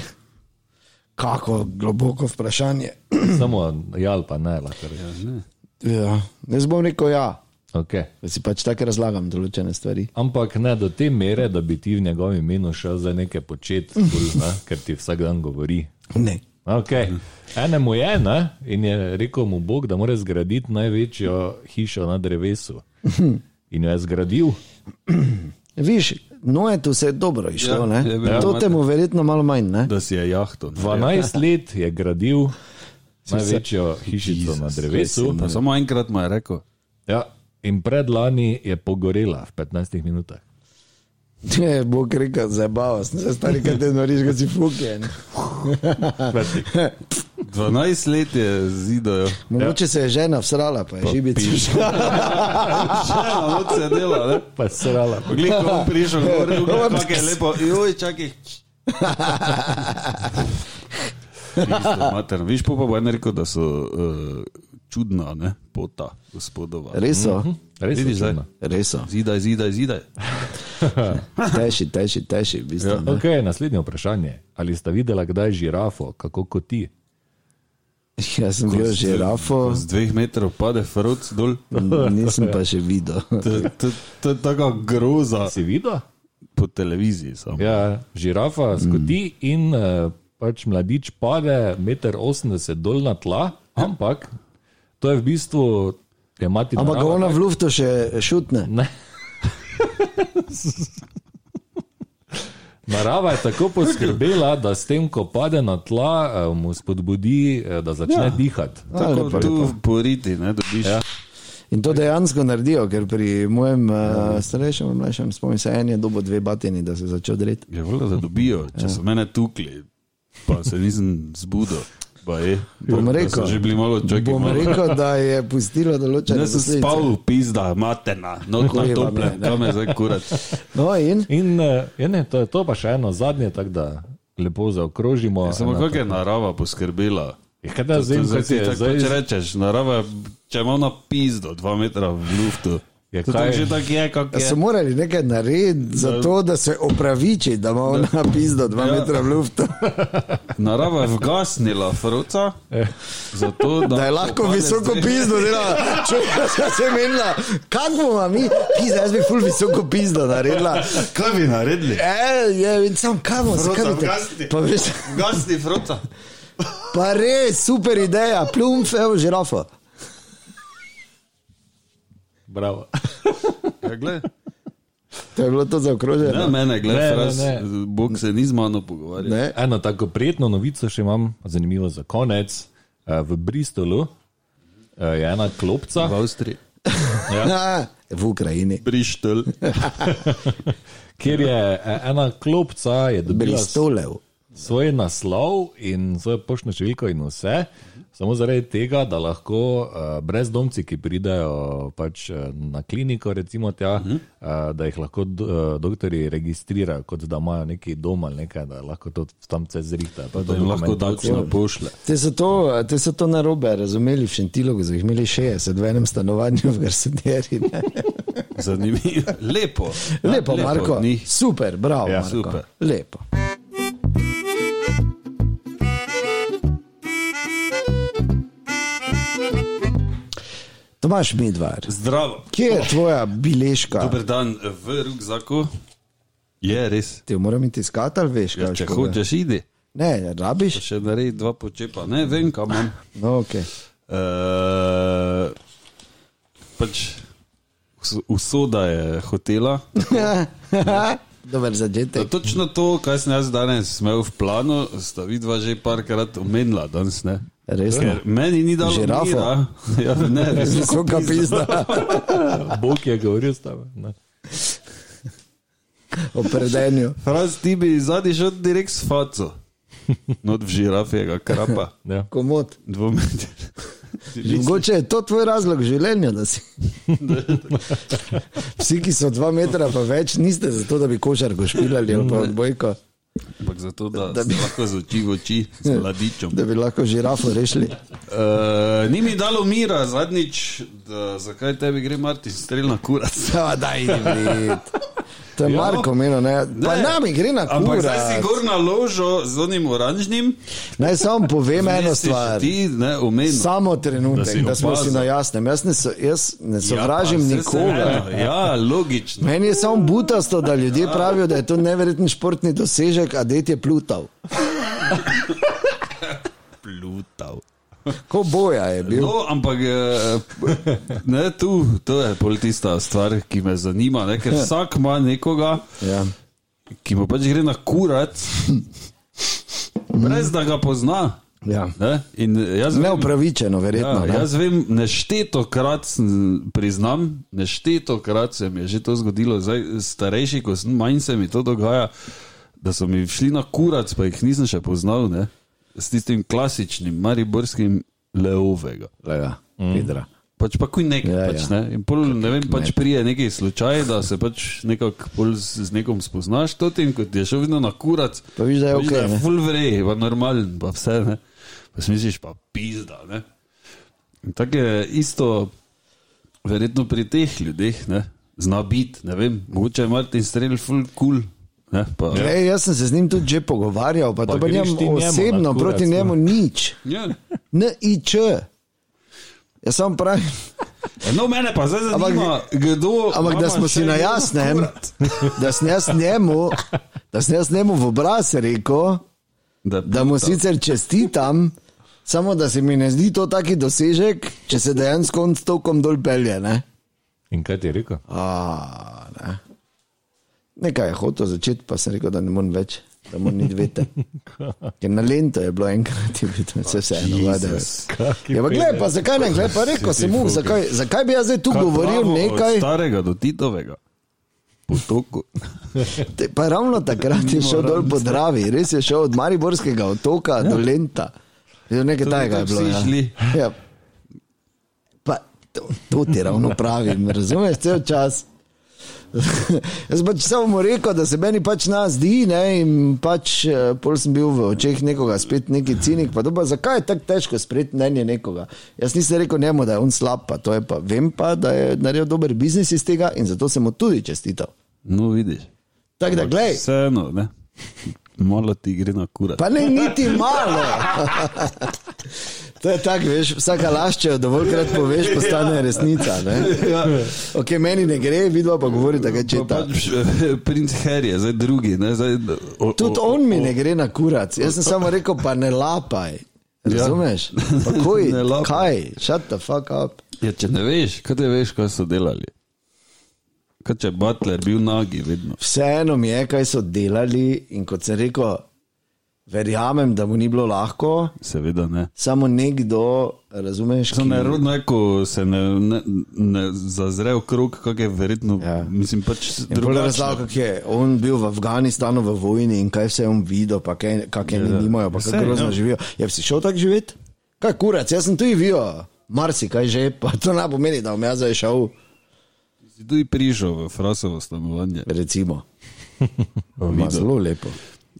Speaker 3: Kako globoko vprašanje.
Speaker 5: Samo ja ali pa ne, lahko rečem.
Speaker 3: Ja. Jaz bom rekel ja,
Speaker 5: Okay.
Speaker 3: ker si pač tako razlagam določene stvari.
Speaker 5: Ampak ne do te mere, da bi ti v njegovem imenu šel za nekaj počet, bolj, ne, ker ti vsak dan govori.
Speaker 3: Ne.
Speaker 5: Okay. Enemu je ne? in je rekel mu Bog, da mora zgraditi največjo hišo na drevesu. In jo je zgradil,
Speaker 3: Viš, no je tu vse dobro
Speaker 4: Ja,
Speaker 3: išlo, ne?
Speaker 4: je bilo
Speaker 3: To
Speaker 4: malo-
Speaker 3: temu verjetno malo manj, ne?
Speaker 4: Da si je jahto.
Speaker 5: 12 let je gradil največjo hišico na drevesu.
Speaker 4: Pa samo enkrat mu je rekel.
Speaker 5: Ja, in predlani je pogorela v 15 minutah.
Speaker 3: Ne, Bog rekel, zabaval sem se, stari, kaj te noriš, kot si fuken.
Speaker 4: Ah. 12 let je zidajo.
Speaker 3: Mogoče se je žena vsrala, pa je šibica.
Speaker 4: Ja, od se dela, ne?
Speaker 5: Pa je srala.
Speaker 4: Poglej, ko bom prišel, govoril, kako je lepo. Joj, čakaj. Kristo, Mater, viš pa bo en rekel, da so uh, čudna, ne, pota gospodova.
Speaker 3: Res so,
Speaker 5: Res je
Speaker 4: Vidiš zdaj?
Speaker 5: čudno.
Speaker 3: res so.
Speaker 4: Zidaj, zidaj, zidaj.
Speaker 3: Teši, teši, teši, v
Speaker 4: Ja.
Speaker 3: bistvu. ne.
Speaker 5: Okay, naslednje vprašanje. Ali ste videli kdaj žirafo, kako kot ti?
Speaker 3: Jaz sem
Speaker 5: Ja,
Speaker 3: bil žirafo,
Speaker 4: Z dveh metrov pade frot dol.
Speaker 3: nisem pa še videl.
Speaker 4: To- to- To je taka groza
Speaker 5: Si videl?
Speaker 4: po televiziji. Sam.
Speaker 5: Ja, žirafa
Speaker 4: Hmm.
Speaker 5: skoti mm. in eh, pač mladič pade 1,80 m dol na tla,
Speaker 4: Ja.
Speaker 5: ampak to je v bistvu tematika.
Speaker 3: Ampak ga ona v luftu še šutne.
Speaker 5: Ne. Narava je tako poskrbela, da s tem, ko pade na tla, eh, mu spodbudi, eh, da začne ja. dihati.
Speaker 4: Tako
Speaker 3: lepo,
Speaker 4: tu poriti, ne dobiš. Ja.
Speaker 3: In to dejansko naredijo, ker pri mojem uh,
Speaker 4: Ja,
Speaker 3: starejšem, mlajšem, spomnim se, en je dobo dve batini, da se je začel dreti.
Speaker 4: Je vrlo, da dobijo, če so mene tukli, pa se nisem zbudil. Pa je.
Speaker 3: Bom
Speaker 4: Da so
Speaker 3: rekel.
Speaker 4: Že bili malo čakali.
Speaker 3: Bom rekel, da je pustilo določene
Speaker 4: Jaz sem
Speaker 3: posledice.
Speaker 4: Ja. spal, pizda, materna, not na
Speaker 3: Kurva,
Speaker 4: tople,
Speaker 3: ne, ne.
Speaker 4: tam je zdaj kurat.
Speaker 3: No in
Speaker 5: In eh, je, ne, to je to, pa še eno zadnje, tako da lepo zaokrožimo.
Speaker 4: Ja, Samo
Speaker 5: Ena
Speaker 4: kako je narava poskrbela.
Speaker 5: Ja, Kaj da zdaj,
Speaker 4: Zdaj
Speaker 5: kaj
Speaker 4: si
Speaker 5: je
Speaker 4: tako pač
Speaker 5: zdaj?
Speaker 4: rečeš, narava je, če ima na pizdo, dva metra v luftu.
Speaker 5: Ja,
Speaker 4: to
Speaker 5: kaj-
Speaker 4: tako že tako je, kako
Speaker 3: da so
Speaker 4: je.
Speaker 3: morali nekaj narediti, zato da se opraviči, da ima ona pizdo dva
Speaker 4: Ja.
Speaker 3: metra v luftu,
Speaker 4: Narava je vgasnila fruca,
Speaker 5: E.
Speaker 4: zato da,
Speaker 3: da je lahko
Speaker 4: popade
Speaker 3: visoko
Speaker 4: zdaj-
Speaker 3: pizdo delala. Čujem, da se je menila, kako bomo mi, pizda, jaz bi ful visoko pizdo naredila.
Speaker 4: Kaj bi naredili?
Speaker 3: E, je, in sam kamo,
Speaker 4: Fruta
Speaker 3: zakaj bi
Speaker 4: vgasni.
Speaker 3: te? Pa veš,
Speaker 4: Gasni fruca.
Speaker 3: pa res, super ideja, plumf, evo, žirafo.
Speaker 5: Bravo.
Speaker 4: Ja, glej.
Speaker 3: To je bilo to
Speaker 4: Ne,
Speaker 3: zaokroženo.
Speaker 4: mene,
Speaker 5: Ne,
Speaker 4: gledaj,
Speaker 5: ne,
Speaker 4: fraz,
Speaker 5: ne.
Speaker 4: Bog se ni z mano pogovarjal.
Speaker 3: Ne.
Speaker 5: Eno tako prijetno novico še imam, zanimivo za konec. Eh, V Bristolu eh, je ena klopca,
Speaker 4: V Avstriji.
Speaker 3: Ja, v Ukrajini.
Speaker 4: Brištel.
Speaker 5: Ja, kjer je eh, ena klopca, je dobila,
Speaker 3: Bristolev.
Speaker 5: svoj naslov in svojo poštno številko in vse, samo zaradi tega, da lahko uh, brezdomci, ki pridejo pač, eh, na kliniko, recimo tja,
Speaker 4: Mhm.
Speaker 5: uh -huh. uh, da jih lahko do, uh, doktori registrirajo, kot da imajo neki dom ali nekaj, da lahko to tam vse zrihtajo. pa
Speaker 4: Da jim lahko
Speaker 5: dokumentacijo.
Speaker 4: takšno pošle.
Speaker 3: Te so to, te so to narobe razumeli v Šentilu, ko so jih imeli 60 v enem stanovanju v Garsederi. ne.
Speaker 4: Zanimivo. Lepo.
Speaker 3: Ja, Lepo, Marko.
Speaker 4: od njih.
Speaker 3: Super, bravo.
Speaker 5: Ja,
Speaker 3: Marko.
Speaker 4: super.
Speaker 3: Lepo. Tomaš Midvar,
Speaker 4: Zdravo.
Speaker 3: kje je tvoja beležka?
Speaker 4: Oh. Dober dan v rukzaku. Je res.
Speaker 3: Ti jo moram iti iskati, ali veš, kaj
Speaker 4: Ja, če
Speaker 3: škoda?
Speaker 4: hočeš, idi.
Speaker 3: Ne, rabiš.
Speaker 4: Še naredi dva počepa. Ne vem, kam imam.
Speaker 3: No, okay.
Speaker 4: Uh, pač us- usoda je hotela.
Speaker 3: Dober
Speaker 4: Da,
Speaker 3: začetek.
Speaker 4: točno to, kar sem jaz danes imel v planu, sta vidva že parkrat omenila danes. Ne?
Speaker 3: Resno?
Speaker 4: Ker meni ni dalo
Speaker 3: Žirafo?
Speaker 4: mira. Ja, ne, res.
Speaker 3: Visoka pizda.
Speaker 5: Bog je govoril s tabo.
Speaker 3: O predenju.
Speaker 4: Fraz ti bi zadnji šel direkt s faco. Not v žirafega krapa.
Speaker 5: Ja.
Speaker 3: Komod.
Speaker 4: Dvometer.
Speaker 3: Mogoče je to tvoj razlog življenja, da si. Vsi, ki so dva metra pa več, niste zato, da bi košarko špilali ali pa odbojko,
Speaker 4: Ampak zato, da,
Speaker 3: Da
Speaker 4: da
Speaker 3: bi-
Speaker 4: bi Ja. lahko z oči v oči, z mladičem.
Speaker 3: da bi lahko žirafo rešili.
Speaker 4: Uh, ni mi dalo mira zadnjič, da zakaj tebi gre Martin strel na kurac.
Speaker 3: Ja, daj, ne. To je
Speaker 4: Ja.
Speaker 3: Marko menil, ne. Pa
Speaker 4: Ne.
Speaker 3: nami gre na
Speaker 4: Ampak zdaj si
Speaker 3: kurac.
Speaker 4: gor na ložo z onim oranžnim.
Speaker 3: Naj samo povem eno
Speaker 4: Vmes si še
Speaker 3: stvar.
Speaker 4: Ti ne omeni.
Speaker 3: Samo trenutek, da,
Speaker 5: Da si
Speaker 3: da smo si
Speaker 4: opazil.
Speaker 3: na jasnem. Jaz ne, so, jaz ne sovražim ja, nikogar.
Speaker 4: Ja, logično.
Speaker 3: Meni je samo butasto, da ljudje pravijo, da je to neverjeten športni dosežek, a det je plutal.
Speaker 4: Plutal.
Speaker 3: Ko boja je bil.
Speaker 4: No, ampak eh, ne, tu, to je pol tista stvar, ki me zanima, ne, ker vsak ima nekoga,
Speaker 3: Ja.
Speaker 4: ki mu pač gre na kurac, brez da ga pozna.
Speaker 3: Ja.
Speaker 4: Ne, in jaz vem,
Speaker 3: Neupravičeno, verjetno.
Speaker 4: Ja,
Speaker 3: Ja,
Speaker 4: jaz vem, nešteto krat sem- priznam, nešteto krat se mi je že to zgodilo, zdaj starejši, ko sem manj, se mi to dogaja, da so mi šli na kurac, pa jih nisem še poznal, ne? s tistim klasičnim, mariborskim leovega.
Speaker 3: Lega, mm.
Speaker 4: Pač pa kuj nekaj,
Speaker 3: Ja,
Speaker 4: ja, pač,
Speaker 3: ja.
Speaker 4: ja. ne. In pol, ne vem, pač prije neki slučaj, da se pač nekako bolj z, z nekom spoznaš, to tem, kot je šel vedno na kurac.
Speaker 3: Pa vidiš, da je
Speaker 4: vidiš,
Speaker 3: okej,
Speaker 4: da
Speaker 3: ne.
Speaker 4: je full vrej, pa normalen, pa vse, ne. Pa si misliš, pa pizda, ne. In tako je isto, verjetno pri teh ljudeh, ne, zna biti, ne vem, mogoče je Martin Strel full cool, ne, pa. Ja.
Speaker 3: Glej, jaz sem se z njim tudi že pogovarjal, pa, pa to pa
Speaker 5: greš
Speaker 3: njemu
Speaker 5: ti njemu na
Speaker 3: osebno,
Speaker 5: kurac,
Speaker 3: proti
Speaker 5: ne.
Speaker 3: njemu nič.
Speaker 4: Ja.
Speaker 3: NIČ. Jaz sam pravim,
Speaker 4: No, mene pa zdaj
Speaker 3: Ampak-
Speaker 4: zanima, kdo.
Speaker 3: ampak da
Speaker 4: mama
Speaker 3: smo
Speaker 4: še
Speaker 3: si na
Speaker 4: eno
Speaker 3: jasnem,
Speaker 4: kurac.
Speaker 3: da sem jaz njemu, da sem jaz njemu v obraz rekel,
Speaker 4: Da,
Speaker 3: da mu sicer čestitam, samo da se mi ne zdi to taki dosežek, če se dejansko on s tokom dol pelje. Ne?
Speaker 5: In kaj ti je rekel?
Speaker 3: A, ne. Nekaj je hotel začeti, pa sem rekel, da ne morem več, da moram niti vete. Ker na lento je bilo enkrat, je bilo vse vseeno. vadil. Ja, pa gledaj, pa zakaj ne, gledaj, pa rekel sem mu, zakaj, zakaj bi jaz zdaj tu
Speaker 4: Kaj
Speaker 3: govoril
Speaker 4: pravo Od
Speaker 3: nekaj,
Speaker 4: starega do Titovega. Potoku.
Speaker 3: te- pa ravno takrat je šel dol po Dravi, res je šel od Mariborskega otoka do Lenta. Je Nekaj
Speaker 4: Ja. To bi
Speaker 3: takega je
Speaker 4: tudi
Speaker 3: bilo.
Speaker 4: vsi
Speaker 3: ja.
Speaker 4: šli.
Speaker 3: Ja. Pa, to, to ti
Speaker 4: Ja.
Speaker 3: ravno pravim, razumeš, cel čas. Jaz pač samo mu rekel, da se meni pač nas zdi, ne, in pač eh, pol sem bil v očeh nekoga, spet neki cinik. Pa doba, zakaj je tako težko sprejeti mnenje nekoga? Jaz nisem rekel njemu, da je on slab, pa to je pa. Vem pa, da je naredil dober biznis iz tega in zato sem mu tudi čestital.
Speaker 4: No, vidiš.
Speaker 3: Tako da, glej,
Speaker 4: Vseeno, ne. Malo ti gre na kurac.
Speaker 3: pa ne niti malo. To je tako, veš, vsaka laž, če jo dovoljkrat poveš, postane resnica. Ne?
Speaker 4: Ja.
Speaker 3: Okay, meni ne gre, vidva pa govori, da je
Speaker 4: Pa
Speaker 3: četa.
Speaker 4: pač, eh, princ Harry je zdaj drugi. Ne, zdaj, o,
Speaker 3: Tudi
Speaker 4: o,
Speaker 3: on mi ne gre na kurac. Jaz sem samo rekel, pa ne lapaj. Razumeš? Pa kuj,
Speaker 4: Ja. Ne lapaj.
Speaker 3: kaj, shut the fuck up.
Speaker 4: Ja, če ne veš, kaj te veš, kaj so delali. Kaj če je Butler bil nagi vedno.
Speaker 3: Vseeno mi je, kaj so delali in kot sem rekel, Verjamem, da mu ni bilo lahko,
Speaker 4: Seveda ne.
Speaker 3: samo nekdo, razumeš,
Speaker 4: Samo
Speaker 3: ki-
Speaker 4: nerodno je, ko se ne, ne, ne zazre v krog, kak je verjetno.
Speaker 3: Ja.
Speaker 4: Ja. Mislim, pač
Speaker 3: In pol
Speaker 4: drugače.
Speaker 3: Razlagal, kako je on bil v Afganistanu v vojni in kaj vse je on videl, pa kaj, kaj eni nimajo, pa
Speaker 4: Sej,
Speaker 3: kako grozno
Speaker 4: ja.
Speaker 3: živijo. Je si šel tako živeti? Kaj kurac, jaz sem tu videl, marsikaj že, pa to ne pomeni, da bom jaz zdaj šel,
Speaker 4: Si tudi prišel v Frasovo stanovanje.
Speaker 3: recimo. Ma, zelo lepo.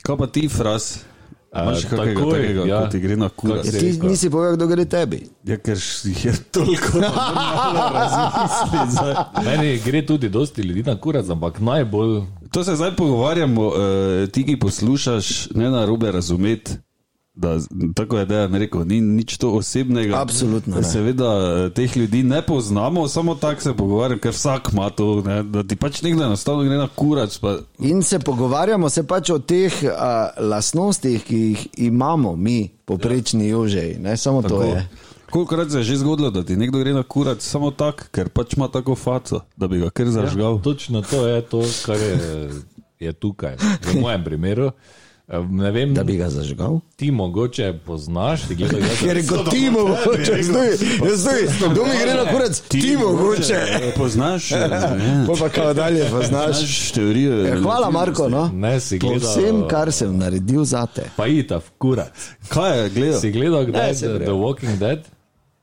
Speaker 4: Kaj pa ti, Fras?
Speaker 5: A,
Speaker 4: Imaš kakega
Speaker 5: takoj,
Speaker 4: takega,
Speaker 5: ja.
Speaker 4: ko ti gre na kura?
Speaker 5: Kako
Speaker 3: Ja,
Speaker 5: se-
Speaker 3: ti
Speaker 5: Resno.
Speaker 3: nisi povedal, kdo gre tebi.
Speaker 4: Ja, ker jih je toliko, da malo razmisli. zdaj.
Speaker 5: Meni gre tudi dosti ljudi na kurac, ampak najbolj
Speaker 4: To se zdaj pogovarjamo, eh, ti, ki poslušaš, ne na robe razumeti. Da, z- tako je Dejan rekel, ni nič to osebnega.
Speaker 3: Absolutno ne.
Speaker 4: Seveda eh, teh ljudi ne poznamo, samo tako se pogovarjam, ker vsak ima to, ne, da ti pač nekdo enostavno gre na kurac. Pa,
Speaker 3: In se pogovarjamo se pač o teh a, lastnostih, ki jih imamo mi, poprečni jožeji, ne samo tako to
Speaker 4: ko-
Speaker 3: je.
Speaker 4: Kolikokrat se je že zgodilo, da ti nekdo gre na kurac samo tako, ker pač ima tako faco, da bi ga
Speaker 3: Ja,
Speaker 4: kar zažgal.
Speaker 5: Ja, Točno to je to, kar je, je tukaj. V mojem primeru, eh, ne vem,
Speaker 3: Da bi ga zažgal.
Speaker 5: ti mogoče poznaš, ti gledaš,
Speaker 3: Ker je kot ti mogoče, zdaj, zdaj, ja, kdo mi gre na kurac, ti mogoče.
Speaker 4: eh, Poznaš? eh, ja.
Speaker 3: Pol Pa kao dalje, pa znaš.
Speaker 4: Poznaš teorijo.
Speaker 3: Ja, Hvala, Marko. No.
Speaker 5: ne si
Speaker 3: Po
Speaker 5: gledal.
Speaker 3: vsem, kar sem naredil za te.
Speaker 5: Pa ita, kurac.
Speaker 4: Kaj je, gledaj?
Speaker 5: Si gledal, kdaj je
Speaker 3: saj
Speaker 5: The
Speaker 3: brez.
Speaker 5: The Walking Dead?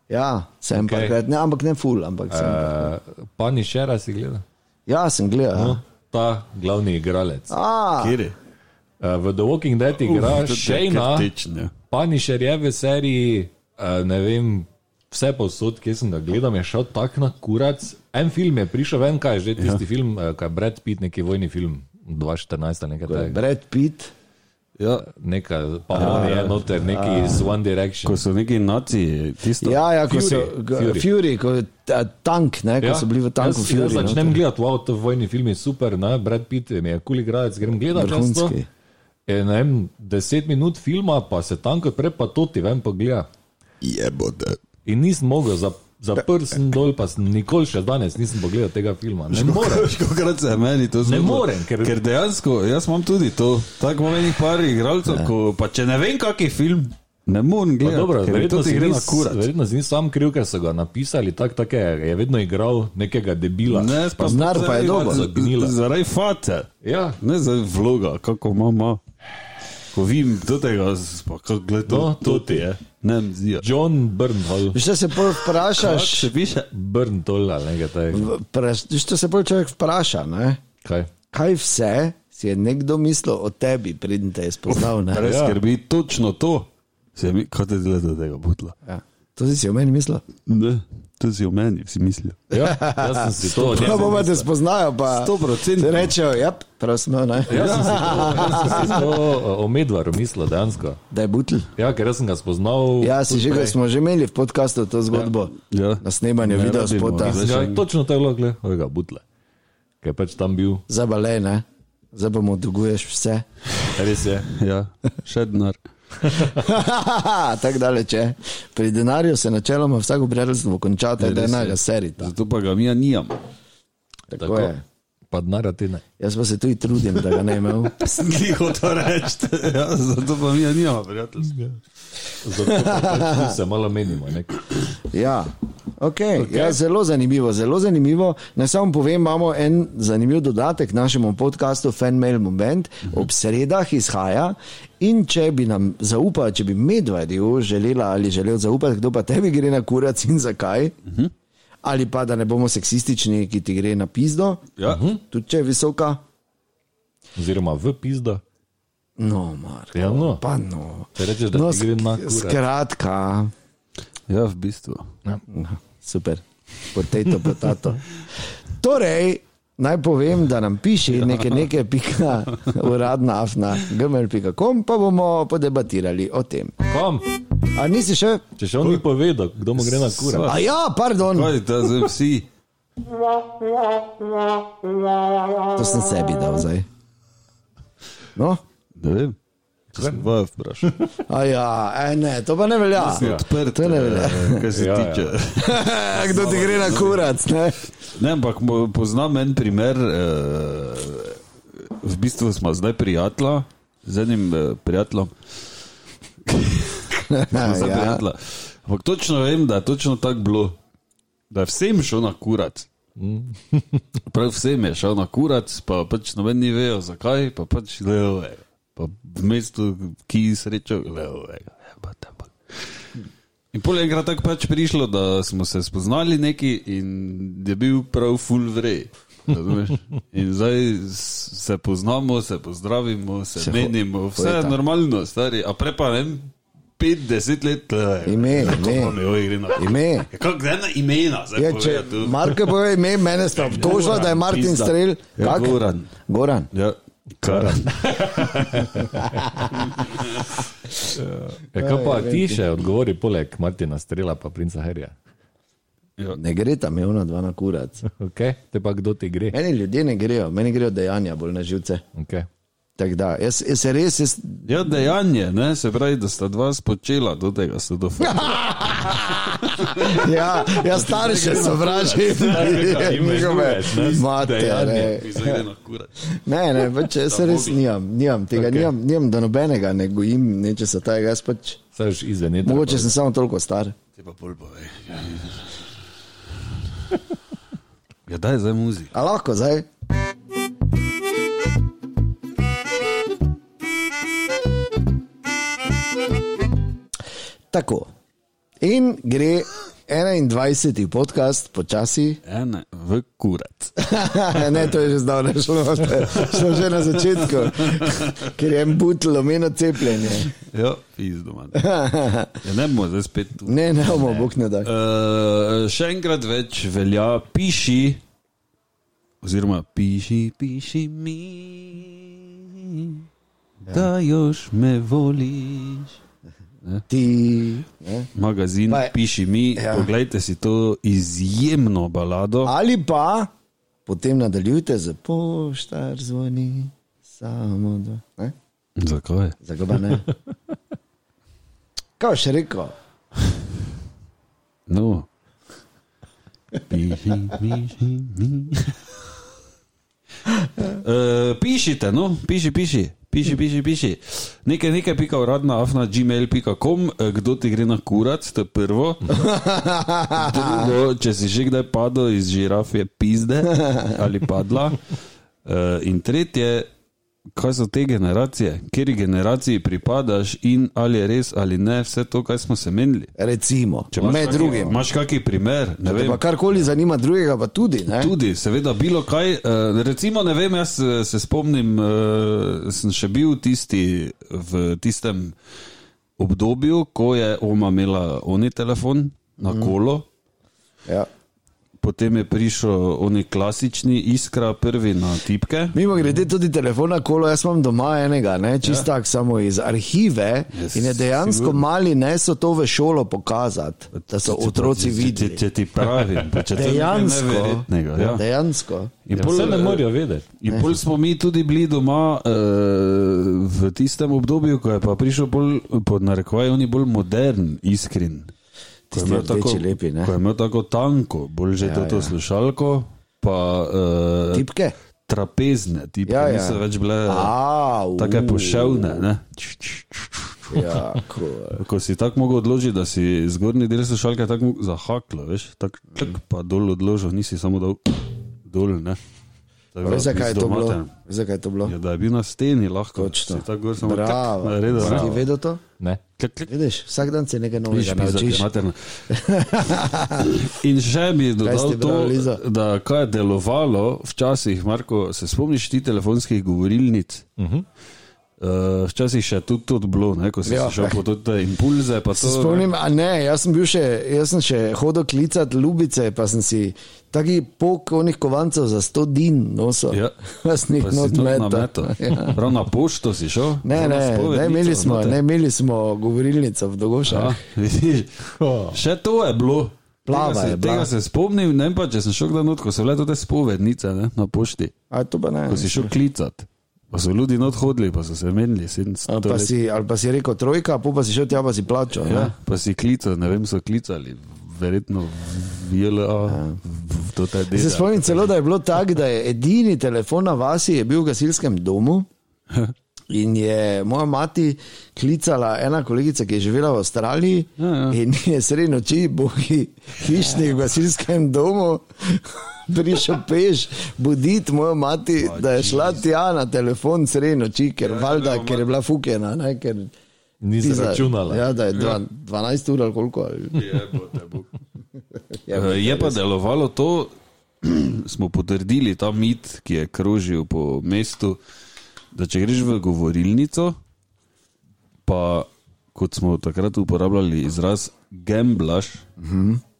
Speaker 3: Ja, sem okay.
Speaker 5: Okej.
Speaker 3: parkrat, ne, ampak ne ful, ampak sem.
Speaker 5: Uh, Pani Šera si gledal.
Speaker 3: Ja, sem gledal.
Speaker 5: No, ta glavni igralec. Uh,
Speaker 3: Ja.
Speaker 4: Kjer je?
Speaker 5: v The Walking Dead igra Shayna, Pani Šer je v seriji, uh, ne vem, vse posod, kjer sem ga gledal, je šel tak na kurac. En film je prišel ven, kaj je že tisti ja. film, eh, kaj je Brad Pitt, neki vojni film, 2014 ali nekaj takega.
Speaker 3: Brad Pitt,
Speaker 5: Ja, neka, pa on je noter, neki iz One Direction.
Speaker 4: Ko so neki naci, tisto.
Speaker 3: ja, ja, ko
Speaker 5: Fury,
Speaker 3: so
Speaker 5: Fury.
Speaker 3: Fury, Fury ko, ta, tank, ne, ko
Speaker 5: Ja,
Speaker 3: so bili v tanku
Speaker 5: jaz,
Speaker 3: Fury. no, torej.
Speaker 5: jaz začnem
Speaker 3: noter.
Speaker 5: gledati, wow, to vojni film je super, ne? Brad Pitt mi je kul igralec, grem gledati. čez to.
Speaker 3: Vrhunski.
Speaker 5: Je, ne vem, deset minut filma, pa se tam kot prej pa to ti vem pogleda.
Speaker 3: Jebote.
Speaker 5: In nisem mogel za, za prsten dol, pa sem nikoli še danes nisem pogledal tega filma. Ne morem.
Speaker 4: Škokrat se je meni to zgodilo.
Speaker 5: morem, ker-
Speaker 4: ker dejansko, jaz imam tudi to. Tako imam enih par igralcev, ko pa če ne vem, kak je film, ne morem
Speaker 5: Ja. Pa
Speaker 3: Ja,
Speaker 4: gledati.
Speaker 5: Dobro,
Speaker 4: ker
Speaker 5: verjetno
Speaker 4: to ti
Speaker 5: si
Speaker 4: gre na
Speaker 5: nis-
Speaker 4: kurat.
Speaker 5: Verjetno si nisem sam kriv, ker so ga napisali tako, tak je, je vedno igral nekega debila.
Speaker 4: Ne, pa
Speaker 3: znar pa je
Speaker 4: zaradi-
Speaker 3: dober.
Speaker 5: Zagnila.
Speaker 4: Zaradi fate.
Speaker 5: Ja,
Speaker 4: Ne zaradi vloga, kako ima, ima. Ko vidim do tega, pa kako gleda to,
Speaker 5: No, to ti je.
Speaker 4: Ne, ja. zdi.
Speaker 5: John Burnhall.
Speaker 3: Še se pol vprašaš,
Speaker 4: Še piše.
Speaker 5: Burnhall ali nekaj takega.
Speaker 3: še se pol človek vpraša, ne,
Speaker 5: Kaj?
Speaker 3: kaj vse si je nekdo mislil o tebi, preden te je spoznal. Ne?
Speaker 4: Brez
Speaker 5: Ja.
Speaker 4: skrbi, točno to. Se mi, kaj te dela do tega butla?
Speaker 3: Ja. To si si o meni mislil.
Speaker 4: Ne, to si o meni, si mislijo.
Speaker 5: Ja, jaz sem si to odnesel.
Speaker 3: Ja, bomo te spoznajo, pa
Speaker 4: 100%.
Speaker 3: ti rečejo, ja, prav smo, ne,
Speaker 5: Jaz
Speaker 4: Ja.
Speaker 5: sem si to, jaz sem si to eh, o medvaru mislil dejansko.
Speaker 3: da je butl.
Speaker 5: Ja, ker jaz sem ga spoznal.
Speaker 3: Ja, si že, ko smo že imeli v podkastu to zgodbo.
Speaker 4: Ja.
Speaker 3: Na snemanju
Speaker 4: Ne
Speaker 3: video
Speaker 4: rabimo
Speaker 3: spota.
Speaker 4: videa.
Speaker 5: Sem ga- Točno to je bilo, gled, ovega butle. Ker je pač tam bil,
Speaker 3: Zdaj pa le, ne? Zdaj pa mu dolguješ vse.
Speaker 5: res je.
Speaker 4: Ja, še denar.
Speaker 3: Tako daleč je. Pri denarju se načeloma vsako prijateljstvo konča, tako da je enega serita.
Speaker 4: Zato pa ga mi ja nijamo.
Speaker 3: Tako je.
Speaker 5: Pa denar ti ne.
Speaker 3: Jaz pa se tudi trudim, da ga ne imel.
Speaker 4: Tiho to reči, ja, zato pa mi ja nijamo, prijatelj.
Speaker 5: Zato pa pač tu se malo menimo. Ne?
Speaker 3: Ja. Okay, okay. Ja, zelo zanimivo, zelo zanimivo. Naj samo povem, imamo en zanimiv dodatek našemu podkastu Fanmail Moment,
Speaker 5: Mhm.
Speaker 3: ob sredah izhaja. In če bi nam zaupal, če bi medvedju želela ali želel zaupati, kdo pa tebi gre na kurac in zakaj,
Speaker 5: Mhm.
Speaker 3: ali pa da ne bomo seksistični, ki ti gre na pizdo,
Speaker 4: Ja.
Speaker 5: Mhm.
Speaker 3: tudi če je visoka.
Speaker 5: Oziroma v pizdo.
Speaker 3: No, Marko,
Speaker 5: Ja, no.
Speaker 3: pa no.
Speaker 5: Te rečeš, da
Speaker 3: no,
Speaker 5: ti gre na
Speaker 3: sk-
Speaker 5: kurac.
Speaker 3: Skratka,
Speaker 4: ja, v bistvu.
Speaker 3: No, super, potato, potato. Torej, naj povem, da nam piše ja. nekaj, nekaj, pika, uradna afna, gmail.com, pa bomo podebatirali o tem.
Speaker 5: Kam?
Speaker 3: A nisi še?
Speaker 5: Če še on ni povedal, kdo mu gre na kurac.
Speaker 3: A ja, pardon,
Speaker 4: Kaj, ta zdaj vsi.
Speaker 3: to sem sebi dal zdaj. No?
Speaker 4: Ne vem. Če sem vas vprašal.
Speaker 3: A ja, e, ne, to pa ne velja.
Speaker 4: Odprt,
Speaker 3: To ne velja.
Speaker 4: eh, kar se
Speaker 5: Ja, ja.
Speaker 4: tiče.
Speaker 3: Kdo ti gre na kurac? Ne?
Speaker 4: Ne, ampak mo- poznam en primer, eh, v bistvu smo zdaj prijatelja, z enim eh, prijateljem. Imam zdaj
Speaker 3: Ja.
Speaker 4: prijatelja. Ampak točno vem, da je točno tako bilo, da je vsem šel na kurat.
Speaker 3: Mm.
Speaker 4: Prav vsem je šel na kurat, pa pač noben ni vejo zakaj, pa pač leovega. Pa v mestu, ki srečo, Ja, leovega. Jebate, ampak. In pol je enkrat tako pač prišlo, da smo se spoznali neki in je bil prav full vrej. razumeš? In zdaj s- se poznamo, se pozdravimo, se, se
Speaker 3: Se ho-
Speaker 4: menimo, vse je
Speaker 3: hojta.
Speaker 4: normalno, stari, a prej pa ne vem, 50 let. eh, le,
Speaker 3: Ime,
Speaker 4: kako
Speaker 3: ime.
Speaker 4: pa mi ovo gre na-
Speaker 3: Ime.
Speaker 4: Ja, Kako gre na imena? zdaj
Speaker 3: Je, Ja, če
Speaker 4: povedati, tu?
Speaker 3: Marko pove ime, mene sta obtožila, da je Martin
Speaker 4: pizda.
Speaker 3: Strel.
Speaker 4: Ja,
Speaker 3: Kak?
Speaker 4: Goran.
Speaker 3: Goran.
Speaker 4: Ja, karan.
Speaker 5: Ja, kaj pa ti še odgovori, poleg Martina Strela in princa Herja?
Speaker 3: Ne gre tam, je ona dva na kurac.
Speaker 5: Okay? Te pa kdo ti gre?
Speaker 3: Meni ljudje ne grejo, meni grejo dejanja bolj na živce.
Speaker 5: Okay.
Speaker 3: Tako da, jaz, jaz se res, jaz,
Speaker 4: Ja, dejanje, ne, se pravi, da sta dva spočela, do tega so do fuk.
Speaker 3: ja, jaz starše sovražim. Njihove matere. Ne, ne, pač jaz se res nijam, nijam tega, okay. nijam, nijam, da nobenega ne gojim, nečesa tega, jaz pač.
Speaker 5: Saj už izven je.
Speaker 3: Mogoče sem samo toliko star.
Speaker 4: Te pa pol povej. Ja, daj zdaj muzik.
Speaker 3: A lahko zdaj? Tako. In gre 21. podcast, počasi.
Speaker 4: Ene, v kurat.
Speaker 3: ne, to je že zdavno šlo, šlo že na začetku, ker je en butl omenil cepljenje.
Speaker 4: Ja, pizdo manj. Ja, ne bomo zdaj spet tu.
Speaker 3: Ne, ne, bomo, bog ne da.
Speaker 4: Uh, še enkrat več velja, piši, oziroma piši, piši mi, da još me voliš.
Speaker 3: Ti. Ne?
Speaker 4: Magazin,
Speaker 3: Pa je-
Speaker 4: piši mi, ja.
Speaker 3: Ja.
Speaker 4: poglejte si to izjemno balado.
Speaker 3: Ali pa potem nadaljujte z poštar zvoni, samo da. Ne?
Speaker 4: Zakaj?
Speaker 3: Zagoba ne. Kaj še rekel?
Speaker 4: No. Piši, piši, mi. Uh, pišite, no, piši, piši, piši, piši, piši. Nekaj, nekaj, pika uradna, afna, gmail.com, eh, kdo ti gre na kurat, to je prvo. Drugo, če si že kdaj padel iz žirafije pizde ali padla. Uh, in tretje, kaj so te generacije, kateri generaciji pripadaš in ali je res ali ne, vse to, kaj smo se menili.
Speaker 3: Recimo,
Speaker 4: Če imaš
Speaker 3: med
Speaker 4: kaki-
Speaker 3: drugim.
Speaker 4: Imaš kakšen primer? Ne
Speaker 3: Če
Speaker 4: vem.
Speaker 3: pa karkoli zanima drugega, pa tudi. Ne?
Speaker 4: Tudi, seveda, bilo kaj. eh, Recimo, ne vem, jaz eh, se spomnim, eh, sem še bil tisti v tistem obdobju, ko je Oma imela oni telefon
Speaker 3: Mhm.
Speaker 4: na kolo.
Speaker 3: Ja.
Speaker 4: Potem je prišel oni klasični iskra, prvi na tipke.
Speaker 3: Mimo grede tudi telefona, kolo, jaz imam doma enega, ne, čist ja. tak samo iz arhive
Speaker 4: Jaz
Speaker 3: yes, in je dejansko
Speaker 4: sigurno.
Speaker 3: sigurno. mali ne so to v šolo pokazati, da so otroci
Speaker 4: Če- če-
Speaker 3: videli.
Speaker 4: Če ti pravim, pa če ti
Speaker 3: Dejansko,
Speaker 4: Ja.
Speaker 3: dejansko.
Speaker 4: In eh,
Speaker 5: Ja, vse ne morajo vedeti.
Speaker 4: In bolj smo mi tudi bili doma uh, v tistem obdobju, ko je pa prišel bolj pod narekovaj, on je bolj modern, iskren. Ko
Speaker 3: Tisti
Speaker 4: je imel tako-
Speaker 3: rdeči lepi, ne?
Speaker 4: Ko je imel tako tanko, bolj že ja, to ja. slušalko, pa uh,
Speaker 3: Tipke?
Speaker 4: trapezne, ti
Speaker 3: Ja,
Speaker 4: pa
Speaker 3: ja.
Speaker 4: niso več bile
Speaker 3: A, u.
Speaker 4: tako poševne. Ne? Č, č, č, č.
Speaker 3: Ja, cool.
Speaker 4: Ko si tako mogel odložiti, da si zgornji del slušalke tako mogel- zahaklo, veš, tako tak, pa dol odložil, nisi samo dol, dol ne. Tako da,
Speaker 3: Veš, zakaj je to
Speaker 4: pizdomaten.
Speaker 3: bilo? Veš, zakaj je to bilo?
Speaker 4: Ja, da je bil na steni lahko.
Speaker 3: Točno.
Speaker 4: Si Tako gor samo
Speaker 3: Bravo.
Speaker 4: Naredil,
Speaker 3: Si Ti vedel to?
Speaker 5: Ne.
Speaker 4: Klik, klik,
Speaker 3: Vidiš, vsak dan se nekaj novega
Speaker 4: Viš, pizda,
Speaker 3: naučiš.
Speaker 4: ti materna. In še bi dodal
Speaker 3: ste
Speaker 4: to,
Speaker 3: brali, Liza?
Speaker 4: da kaj je delovalo včasih, Marko, se spomniš ti telefonskih govorilnic? Uh -huh. Uh, včasih še tudi to bilo, ne, ko si
Speaker 3: Ja.
Speaker 4: ja. šel po te impulze. pa
Speaker 3: Se
Speaker 4: to, ne.
Speaker 3: spomnim, a ne, jaz sem bil še, jaz sem še hodil klicati ljubice, pa sem si taki pok onih kovancev za 100 din nosil.
Speaker 4: Ja.
Speaker 3: Jaz sem
Speaker 4: Pa
Speaker 3: jih
Speaker 4: si
Speaker 3: not
Speaker 4: tudi na
Speaker 3: metal. Ja.
Speaker 4: meto. Prav na pošto si šel?
Speaker 3: Ne,
Speaker 4: Prav na
Speaker 3: ne, ne,
Speaker 4: spovednico,
Speaker 3: imeli smo,
Speaker 4: noter.
Speaker 3: ne, imeli smo govorilnico v Dogošah.
Speaker 4: Ja, vidiš, še to je bilo.
Speaker 3: Plava
Speaker 4: tega se,
Speaker 3: je bila.
Speaker 4: Tega se spomnim, ne vem pa če sem šel kdaj not, ko so bile tudi spovednice ne, na pošti,
Speaker 3: A to pa ne.
Speaker 4: ko si šel klicat. Pa so ljudje not hodili, pa so se menili.
Speaker 3: Ali pa, si, ali pa si rekel trojka, pa, pa si šel tja, pa si plačal.
Speaker 4: ja,
Speaker 3: Ja.
Speaker 4: pa si klical, ne vem, so klicali, verjetno VLA, v to te
Speaker 3: Se
Speaker 4: delo.
Speaker 3: spomnim celo, da je bilo tako, da je edini telefon na vasi je bil v gasilskem domu. In je moja mati klicala, ena kolegica, ki je živela v Avstraliji ja, ja. in je sredi noči, bohi hišni v gasilskem domu, prišel peš buditi mojo mati, da je šla tja na telefon sredi noči, ker, ja, valjda, ker je bila fukena. Ne, ker,
Speaker 5: Ni
Speaker 3: ti za-
Speaker 5: zaračunala.
Speaker 3: Ja, da je dva, 12 ur ali koliko. Ali,
Speaker 4: Eh, Je pa delovalo to, smo potrdili ta mit, ki je krožil po mestu, da če greš v govorilnico, pa kot smo takrat uporabljali izraz gamblaš,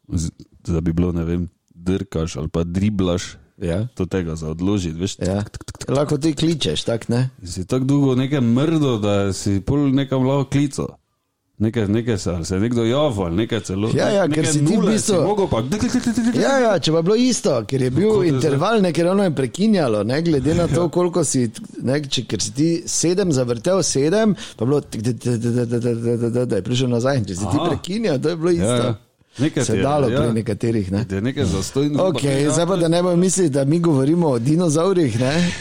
Speaker 4: oz- da bi bilo, ne vem, drkaš ali pa driblaš,
Speaker 3: ja.
Speaker 4: to tega za odložiti, veš,
Speaker 3: Ja. Lahko ti kličeš, tako ne.
Speaker 4: si tako dolgo nekaj mrdo, da si pol nekam lahko klical. Nekaj, nekaj se, ali se je nekdo javil, ali nekaj celo.
Speaker 3: Ja, ja, ker
Speaker 4: nekaj
Speaker 3: si ti v
Speaker 4: nule
Speaker 3: bistvu-
Speaker 4: si mogel pa. dik, dik, dik, dik, dik,
Speaker 3: Ja, ja, če pa je bilo isto, ker je bil
Speaker 4: No, je zdaj? Ja.
Speaker 3: interval, ne, ker ono je prekinjalo, ne glede na to, koliko si, ne, če, ker si ti sedem zavrtel, sedem, pa je bilo, tik, tik, tik, tik, tik, tik, tik, tik, tik, da je prišel nazaj. In Če si ti
Speaker 4: Aha.
Speaker 3: prekinjal, to je bilo
Speaker 4: Ja,
Speaker 3: isto.
Speaker 4: ja. Nekaj
Speaker 3: Se
Speaker 4: ti
Speaker 3: je
Speaker 4: je,
Speaker 3: dalo
Speaker 4: ja.
Speaker 3: pri nekaterih. Ne.
Speaker 4: Da je nekaj zastojno.
Speaker 3: Ok, zdaj pa da ne bomo mislili, da mi govorimo o dinozaurih, ne.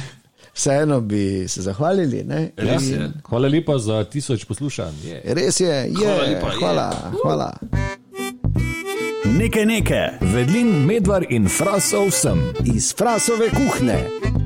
Speaker 3: vseeno bi se zahvalili. Ne.
Speaker 4: Res je.
Speaker 5: Hvala lepa za tisoč poslušanj. Yeah.
Speaker 3: Res je, je,
Speaker 4: Hvala lepa, je.
Speaker 3: hvala. hvala.
Speaker 2: Neke neke, vedlin, medvar in frasov sem.
Speaker 1: Iz Frasove kuhne.